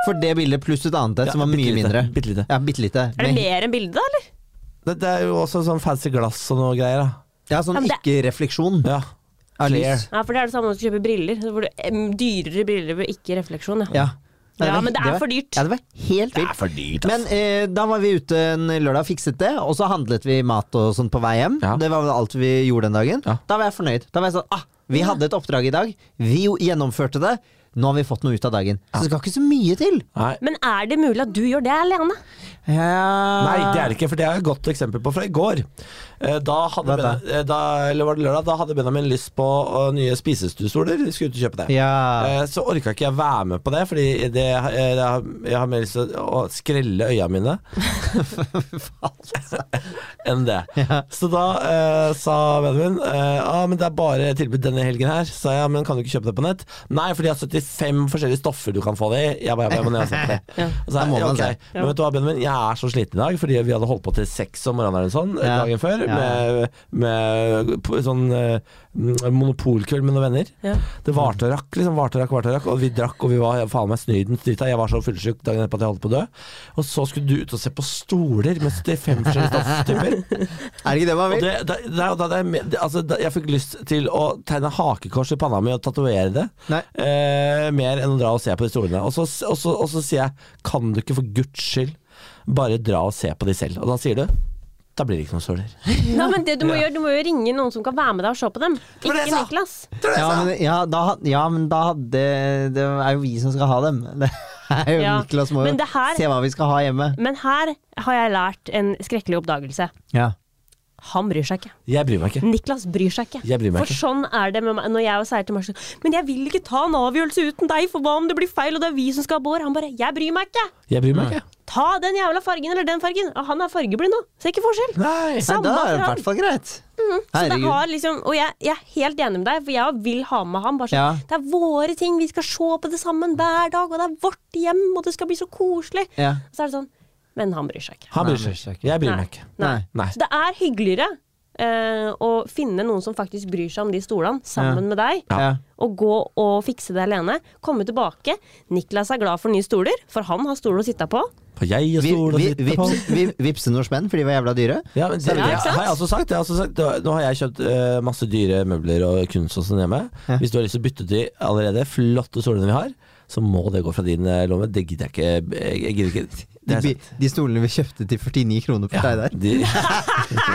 Speaker 3: For det bildet pluss et annet et
Speaker 2: Ja,
Speaker 3: som var mye
Speaker 2: bittelite,
Speaker 3: mindre.
Speaker 2: bittelite.
Speaker 3: Ja, bittelite.
Speaker 4: Er det
Speaker 3: Med-
Speaker 4: mer enn bildet, da, eller?
Speaker 2: Det, det er jo også sånn fancy glass og noe greier. Da.
Speaker 3: Ja, sånn
Speaker 4: Ja, men det-
Speaker 3: ikke-refleksjon.
Speaker 2: Ja.
Speaker 3: Av lys.
Speaker 2: Clear.
Speaker 4: Ja, for det er det samme som å kjøpe briller. Så får du em, dyrere briller ved ikke refleksjon. Ja.
Speaker 3: Ja.
Speaker 4: Ja,
Speaker 3: var-
Speaker 4: men det er
Speaker 3: var-
Speaker 4: for dyrt.
Speaker 3: Ja, det var helt
Speaker 2: Det
Speaker 3: vilt.
Speaker 2: er for dyrt,
Speaker 3: Men
Speaker 2: altså.
Speaker 3: eh, da var vi ute en lørdag og fikset det, og så handlet vi mat og sånt på vei hjem.
Speaker 2: Ja.
Speaker 3: Det var vel alt vi gjorde den dagen.
Speaker 2: Ja.
Speaker 3: Da var jeg fornøyd. Da var jeg sånn, ah, Vi hadde et oppdrag i dag, vi jo gjennomførte det. Nå har vi fått noe ut av dagen. Så det skal ikke så mye til.
Speaker 2: Nei.
Speaker 4: Men er det mulig at du gjør det alene?
Speaker 2: Nei, det er det ikke, for det er et godt eksempel på fra i går. Eh, Da hadde,
Speaker 3: Vent da.
Speaker 2: Benjamin, eh, da, eller var det lørdag, da hadde Benjamin lyst på eh, nye spisestuestoler. Vi skulle ut og kjøpe det.
Speaker 3: Ja.
Speaker 2: Eh, Så orka ikke jeg være med på det, Fordi det, eh, jeg har- jeg har mer lyst til å å skrelle øya mine enn det. Så da eh, sa Benjamin eh, ah, men det er bare tilbud denne helgen her. Sa jeg, men kan du ikke kjøpe det på nett? Nei, for de har 75 forskjellige stoffer du kan få det i. Jeg bare, jeg bare, men jeg har sett det.
Speaker 4: Ja.
Speaker 2: Og så er
Speaker 3: Da må
Speaker 2: jeg,
Speaker 3: man
Speaker 2: ok,
Speaker 3: se.
Speaker 2: Men vet du hva, Benjamin, jeg er så sliten i dag, fordi vi hadde holdt på til seks om morgenen eller sånn
Speaker 3: Ja.
Speaker 2: dagen før,
Speaker 3: Ja.
Speaker 2: med, med p- sånn eh, m- monopolkveld med noen venner.
Speaker 4: Ja.
Speaker 2: Det varte og rakk, liksom, varte og rakk, varte og rakk, og vi drakk, og vi var faen meg snyden drita. Jeg var så fullsjuk dagen etterpå at jeg holdt på å dø. Og så skulle du ut og se på stoler med 75 forskjellige stofftyper.
Speaker 3: Er det ikke det man
Speaker 2: Og
Speaker 3: vil?
Speaker 2: det, det, det, er jo da det, er med- det, altså, da, jeg fikk lyst til å tegne hakekors i panna mi og tatovere det.
Speaker 3: Nei.
Speaker 2: Eh, mer enn å dra og se på de stolene. Og så, og, så, og så sier jeg kan du ikke for guds skyld bare dra og se på de selv? Og da sier du da blir det ikke noen stoler.
Speaker 4: Nei, men det du må
Speaker 2: Ja.
Speaker 4: gjøre, du må jo ringe noen som kan være med deg og se på dem.
Speaker 2: var det
Speaker 4: Ikke
Speaker 2: jeg sa.
Speaker 4: Niklas.
Speaker 3: Ja, men, ja, da, had- ja, men da hadde Det er jo vi som skal ha dem. Det er jo
Speaker 4: Ja,
Speaker 3: Niklas må jo
Speaker 4: men det her-
Speaker 3: se hva vi skal ha hjemme.
Speaker 4: Men her har jeg lært en skrekkelig oppdagelse.
Speaker 3: Ja.
Speaker 4: Han bryr seg ikke.
Speaker 2: Jeg bryr meg ikke.
Speaker 4: Niklas bryr seg ikke.
Speaker 2: Jeg bryr meg
Speaker 4: for
Speaker 2: ikke.
Speaker 4: sånn er det med meg når jeg og sier til Martin Men jeg vil ikke ta en avgjørelse uten deg, for hva om det blir feil, og det er vi som skal ha bår? Han bare Jeg bryr meg ikke!
Speaker 2: Jeg bryr meg ikke.
Speaker 4: Ta den jævla fargen eller den fargen. Ah, han er fargeblind nå. Ser ikke forskjell.
Speaker 2: Nei.
Speaker 3: Nei,
Speaker 4: Samme
Speaker 3: da er det
Speaker 4: for
Speaker 3: i
Speaker 4: han.
Speaker 3: hvert fall greit.
Speaker 4: Mm, Så det
Speaker 3: Herregud.
Speaker 4: har liksom, og jeg, jeg er helt enig med deg, for jeg vil ha med ham. Bare sånn,
Speaker 3: Ja.
Speaker 4: Det er våre ting, vi skal se på det sammen hver dag, og det er vårt hjem, og det skal bli så koselig.
Speaker 3: Ja.
Speaker 4: Og så er det sånn, men han bryr seg ikke.
Speaker 2: Han bryr
Speaker 3: Nei,
Speaker 2: seg ikke. Jeg bryr meg ikke.
Speaker 4: Nei.
Speaker 3: Nei.
Speaker 2: Nei.
Speaker 4: Så det er hyggeligere eh, å finne noen som faktisk bryr seg om de stolene, sammen med deg.
Speaker 3: Ja.
Speaker 4: Og gå og fikse det alene. Komme tilbake. Niklas er glad for nye stoler, for han har stol å sitte på.
Speaker 2: For jeg og
Speaker 3: Vi,
Speaker 2: stol og
Speaker 3: vi,
Speaker 2: sitte på.
Speaker 3: vips, vi, vipse noen spenn, for de var jævla dyre.
Speaker 2: Ja, men det,
Speaker 4: Ja, ikke
Speaker 2: det
Speaker 4: sant?
Speaker 2: har jeg også sagt. Jeg har også sagt det- nå har jeg kjøpt eh, masse dyre møbler og kunst og sånn hjemme. Hvis du har lyst til å bytte til allerede flotte stolene vi har, så må det gå fra din eh, lomme. Det gidder jeg ikke. Jeg, jeg gidder ikke. Det
Speaker 3: De,
Speaker 2: er
Speaker 3: bi-
Speaker 2: sant.
Speaker 3: de stolene vi kjøpte til 49 kroner på Skeidar.
Speaker 2: De,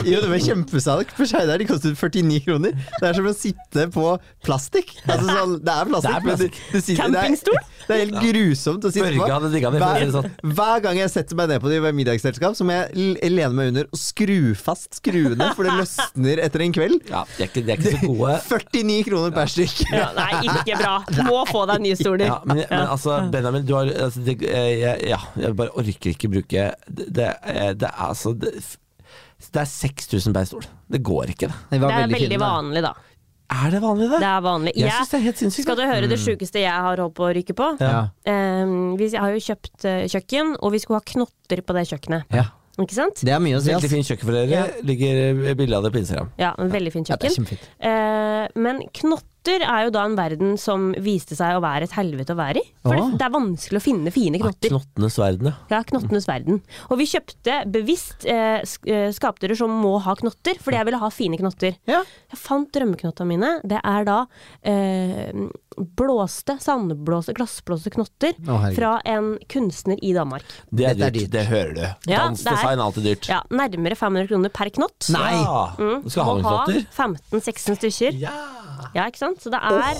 Speaker 3: Jo, det var kjempesalg på Skeidar. De kostet 49 kroner. Det er som å sitte på plastikk. Altså, sånn, det er
Speaker 2: Det er
Speaker 3: plastikk. men du- du sitter- det er-
Speaker 4: Campingstol?
Speaker 3: Det er helt grusomt å sitte
Speaker 2: Børge
Speaker 3: på.
Speaker 2: hadde digga den, for å si det
Speaker 3: Hver,
Speaker 2: sånn.
Speaker 3: hver gang jeg setter meg ned på det i middagsselskap, så må jeg l- lene meg under og skru fast skruene, for det løsner etter en kveld.
Speaker 2: Ja, de er ikke, de er ikke så gode.
Speaker 3: 49 kroner per stykk.
Speaker 4: Ja, nei, ikke bra. Må få deg nye stoler.
Speaker 2: Ja, men, men altså, Benjamin, du har altså, det, eh, jeg, Ja, jeg bare orker ikke bruke Det, det, eh, det er altså det, det er 6000 per stol. Det går ikke, det.
Speaker 3: Det
Speaker 4: Det er veldig vanlig, da.
Speaker 2: Er det vanlig, det?
Speaker 4: Det er vanlig.
Speaker 2: Jeg synes det er helt sinnssykt.
Speaker 4: Skal du høre det sjukeste jeg har holdt på å rykke på?
Speaker 3: Ja.
Speaker 4: Ehm, vi har jo kjøpt eh, kjøkken, og vi skulle ha knotter på det kjøkkenet.
Speaker 3: Ja.
Speaker 4: Ikke sant?
Speaker 3: Det er mye å si. ass.
Speaker 2: Veldig fint kjøkken for dere. Ligger bilde av det på Instagram.
Speaker 4: Ja, en veldig fint
Speaker 3: Ja, det er
Speaker 4: kjøkken.
Speaker 3: kjempefint.
Speaker 4: Eh, men knotter er jo da en verden som viste seg å være et helvete å være i. For
Speaker 3: Åh.
Speaker 4: det, det er vanskelig å finne fine knotter.
Speaker 2: Knottenes verden, ja.
Speaker 4: Ja, knottenes verden. Og vi kjøpte bevisst eh, sk- eh, skapdører som må ha knotter, fordi jeg ville ha fine knotter.
Speaker 3: Ja.
Speaker 4: Jeg fant drømmeknottene mine. Det er da eh, blåste, sandblåste, glassblåste knotter
Speaker 3: Å, herregud.
Speaker 4: fra en kunstner i Danmark.
Speaker 2: Det er
Speaker 3: Dette er
Speaker 2: dyrt,
Speaker 3: dyrt.
Speaker 2: det hører du.
Speaker 4: Ja,
Speaker 2: Dansdesign
Speaker 4: det
Speaker 2: er alltid dyrt.
Speaker 4: Ja, Nærmere 500 kroner per knott. Mm.
Speaker 3: Nei.
Speaker 2: Ja, Du skal ha
Speaker 4: Må
Speaker 2: noen knotter?
Speaker 4: 15-16 stykker.
Speaker 2: Ja.
Speaker 4: Ja, ikke sant? Så det er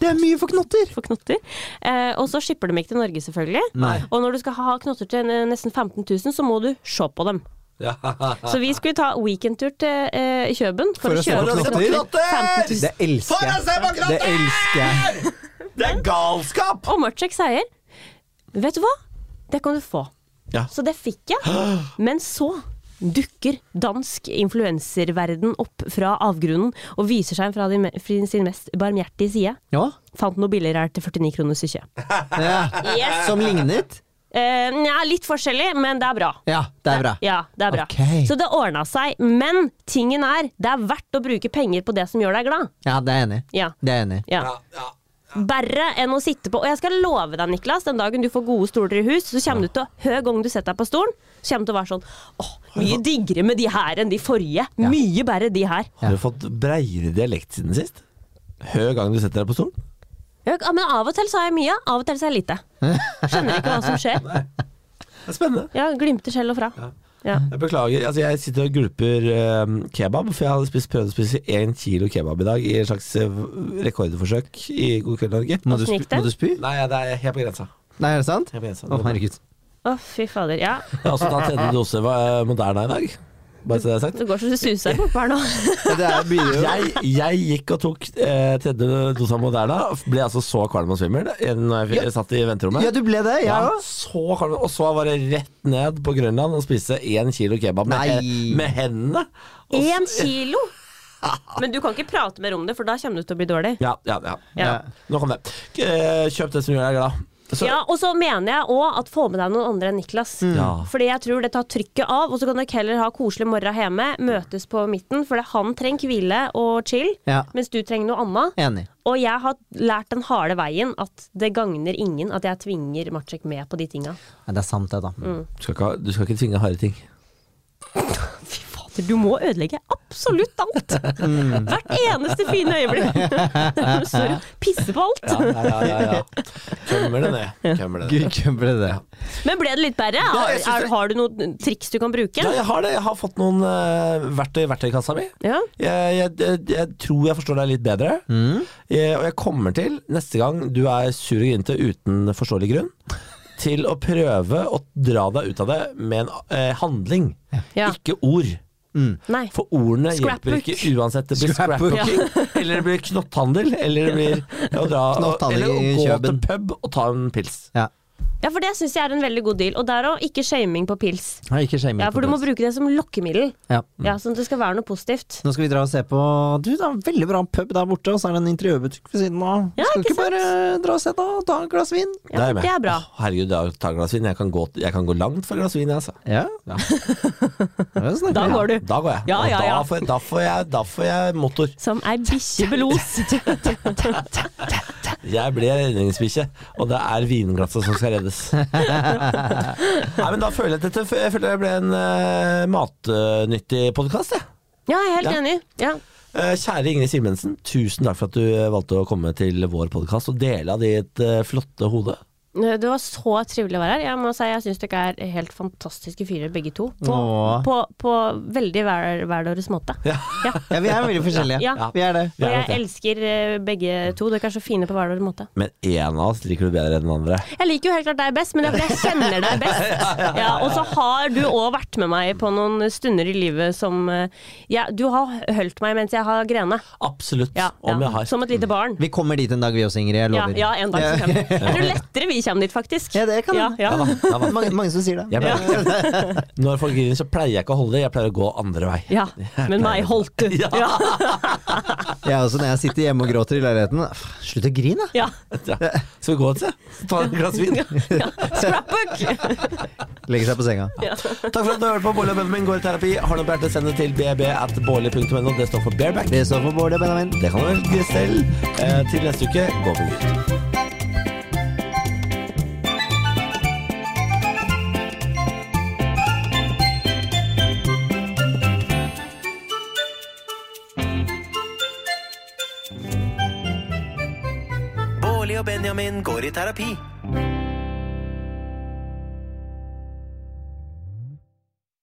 Speaker 3: Det er mye for knotter!
Speaker 4: for knotter. Eh, og så shipper de ikke til Norge, selvfølgelig.
Speaker 3: Nei.
Speaker 4: Og når du skal ha knotter til eh, nesten 15 000, så må du se på dem. Så vi skulle ta weekendtur til eh, Kjøben for,
Speaker 3: For å
Speaker 4: å
Speaker 3: se på
Speaker 4: kjøpe
Speaker 3: knotter.
Speaker 2: Knotter!
Speaker 4: 15 000.
Speaker 3: Det elsker
Speaker 2: For å se på
Speaker 3: jeg. Det elsker jeg.
Speaker 2: Det er galskap!
Speaker 4: Og Marcek sier Vet du hva? Det kan du få.
Speaker 2: Ja.
Speaker 4: Så det fikk jeg. Men så dukker dansk influenserverden opp fra avgrunnen og viser seg fra, de, me- fra sin mest barmhjertige side.
Speaker 3: Ja.
Speaker 4: Fant noe billigere her til 49 kroner stykket.
Speaker 3: Ja. Som lignet?
Speaker 4: Eh, nja, litt forskjellig, men det er bra.
Speaker 3: Ja, det er bra.
Speaker 4: Ja, det er bra.
Speaker 3: Ok.
Speaker 4: Så det ordna seg. Men tingen er, det er verdt å bruke penger på det som gjør deg glad.
Speaker 3: Ja, det er jeg enig i.
Speaker 4: Ja.
Speaker 3: Det er jeg enig i.
Speaker 4: ja. Verre enn å sitte på. Og jeg skal love deg, Niklas, den dagen du får gode stoler i hus, så kommer du til å Hver gang du setter deg på stolen, så kommer du til å være sånn Åh, mye diggere med de her enn de forrige. Mye bedre de her.
Speaker 2: Har du fått breiere dialekt siden sist? Hver gang du setter deg på stolen?
Speaker 4: Ja, men av og til så har jeg mye, av og til så har jeg lite. Skjønner ikke hva som skjer.
Speaker 2: Det er spennende.
Speaker 4: Ja, glimter selv og fra. Ja.
Speaker 2: Jeg beklager. Altså, jeg sitter og gulper eh, kebab, for jeg hadde spist, prøvd å spise én kilo kebab i dag i et slags eh, rekordforsøk i God kveld, Norge.
Speaker 3: Må du,
Speaker 4: Hvordan
Speaker 3: sp
Speaker 4: gikk det?
Speaker 3: må du spy?
Speaker 2: Nei, det er helt på grensa.
Speaker 3: Nei, er det sant?
Speaker 2: Helt på grensa. Altså,
Speaker 3: Å, herregud.
Speaker 4: Å, fy fader. Ja.
Speaker 2: Jeg har også tatt tredje dose var, eh, Moderna i dag. bare så det er sagt.
Speaker 4: Det går så det suser opp her nå.
Speaker 3: Det er, begynner jo
Speaker 2: Jeg, jeg gikk og tok eh, tredje dosa Moderna. Ble altså så kvalm og svimmel eh, Når jeg f- satt i venterommet.
Speaker 3: Ja, du ble det, jeg
Speaker 2: Ja,
Speaker 3: òg.
Speaker 2: så kvalm. Og så var det rett ned på Grønland og spiste én kilo kebab med,
Speaker 3: Nei.
Speaker 2: med hendene. Og s-
Speaker 4: Én kilo! Men du kan ikke prate mer om det, for da kommer du til å bli dårlig.
Speaker 2: Ja, ja, ja.
Speaker 4: Ja.
Speaker 2: Nå kom det. K- eh, Kjøp det som gjør deg glad. Så,
Speaker 4: Ja, og så mener jeg òg at få med deg noen andre enn Niklas.
Speaker 2: Ja.
Speaker 4: Fordi jeg tror det tar trykket av, og så kan dere heller ha koselig morgen hjemme, møtes på midten, for det- han trenger hvile og chill,
Speaker 3: Ja.
Speaker 4: mens du trenger noe annet.
Speaker 3: Enig.
Speaker 4: Og jeg har lært den harde veien at det gagner ingen at jeg tvinger Matsjek med på de tinga.
Speaker 3: Ja, det er sant, det, da.
Speaker 4: Mm.
Speaker 2: Du, skal ikke, ha- du skal ikke tvinge harde ting.
Speaker 4: Fy fader, du må ødelegge absolutt alt! Hvert eneste fine øyeblikk! Sorry. Pisse på alt!
Speaker 2: Ja, ja, ja, ja, ja. Kømmer det ned. Kømmer det ned.
Speaker 3: Gud, hvem ble det?
Speaker 4: Men ble det litt verre?
Speaker 2: Ja,
Speaker 4: Er,
Speaker 2: jeg synes det-
Speaker 4: er, har du noen triks du kan bruke?
Speaker 2: Ja, jeg har det. Jeg har fått noen eh, verktøy i verktøykassa mi.
Speaker 4: Ja.
Speaker 2: Jeg, jeg, jeg, jeg tror jeg forstår deg litt bedre. Jeg, og jeg kommer til, neste gang du er sur og grinte uten forståelig grunn, til å prøve å dra deg ut av det med en eh, handling,
Speaker 4: Ja.
Speaker 2: ikke ord.
Speaker 4: Nei.
Speaker 2: For ordene
Speaker 4: Scrapbook.
Speaker 2: hjelper ikke uansett. Det blir
Speaker 3: Scrapbook.
Speaker 2: scrapbooking, eller det blir knotthandel, eller det blir å dra
Speaker 3: Knotthandel
Speaker 2: Eller å
Speaker 3: i
Speaker 2: gå til
Speaker 3: Kjøben.
Speaker 2: pub og ta en pils.
Speaker 3: Ja.
Speaker 4: Ja, for det syns jeg er en veldig god deal. Og der òg, ikke shaming på pils.
Speaker 3: Nei, Ikke shame
Speaker 4: Ja,
Speaker 3: på
Speaker 4: For du må
Speaker 3: plass.
Speaker 4: bruke det som lokkemiddel.
Speaker 3: ja.
Speaker 4: Ja, Sånn at det skal være noe positivt.
Speaker 3: Nå skal vi dra og se på Du, det er en veldig bra pub der borte, og så er det en interiørbutikk ved siden av.
Speaker 4: Ja,
Speaker 3: skal
Speaker 4: ikke
Speaker 3: ikke bare dra og se, da? Ta et glass vin?
Speaker 4: Ja,
Speaker 2: Da jeg med.
Speaker 4: det er bra.
Speaker 2: Å, herregud, da tar jeg glass vin. Jeg kan gå, jeg kan gå langt for et glass vin, jeg, altså.
Speaker 3: Ja.
Speaker 2: Ja.
Speaker 4: Da går du.
Speaker 2: Da går jeg.
Speaker 4: Ja,
Speaker 2: Og
Speaker 4: ja, ja.
Speaker 2: Da, får, da, får jeg, da får jeg motor.
Speaker 4: Som ei bikkje belos.
Speaker 2: Jeg blir redningsbikkje, og det er vinglasset som skal reddes. Nei, men Da føler jeg at dette jeg føler jeg ble en eh, matnyttig podkast. jeg.
Speaker 4: Ja, jeg er helt
Speaker 2: Ja.
Speaker 4: enig. Ja.
Speaker 2: Eh, kjære Ingrid Simensen, tusen takk for at du eh, valgte å komme til vår podkast og dele av ditt eh, flotte hode.
Speaker 4: Det var så trivelig å være her. Jeg må si jeg syns dere er helt fantastiske fyrer begge to. På,
Speaker 3: Åh.
Speaker 4: på, på veldig hver, hver deres måte.
Speaker 2: Ja.
Speaker 4: Ja.
Speaker 3: Ja, vi er veldig forskjellige.
Speaker 4: Ja.
Speaker 3: Vi er det.
Speaker 4: Og
Speaker 2: Vi er nok
Speaker 4: jeg
Speaker 2: det.
Speaker 4: elsker eh, begge to. Dere er så fine på hver deres måte.
Speaker 2: Men én av oss liker du bedre enn den andre.
Speaker 4: Jeg liker jo helt klart deg best, men det er fordi jeg kjenner deg best. Ja, og så har du òg vært med meg på noen stunder i livet som eh, ja, Du har holdt meg mens jeg har grene.
Speaker 2: Absolutt.
Speaker 4: Ja,
Speaker 2: om
Speaker 4: ja.
Speaker 2: jeg har.
Speaker 4: Som et lite barn.
Speaker 3: Vi kommer dit en dag, vi også, Ingrid. Jeg
Speaker 4: Ja,
Speaker 3: lover.
Speaker 4: ja, en dag så kommer vi. Jeg tror lettere vi kommer dit, faktisk.
Speaker 3: Ja, det kan
Speaker 4: ja,
Speaker 3: hende.
Speaker 4: ja.
Speaker 2: Ja, da, ja, da.
Speaker 3: Mange, mange som sier det.
Speaker 2: Jeg pleier, når folk griner, så pleier jeg ikke å holde det. Jeg pleier å gå andre vei.
Speaker 4: ja. Men meg holdt du.
Speaker 2: Ja.
Speaker 4: Ja.
Speaker 3: Jeg også, når jeg sitter hjemme og gråter i leiligheten «Åh, Slutt å grine, da!
Speaker 4: ja.
Speaker 2: Ja. Skal vi gå et sted? Ta et glass vin?
Speaker 4: Scrapbook!
Speaker 3: Legger seg på senga.
Speaker 2: Takk for at du har hørt på Bårli og Benjamin går i terapi. Har du noe på hjertet, send det til bb at bårli.no. Det står for bareback.
Speaker 3: Det står for Bård og Benjamin.
Speaker 2: Det kan du velge selv. Eh, til neste uke, gå på nytt.
Speaker 1: Bårli og Benjamin går i terapi.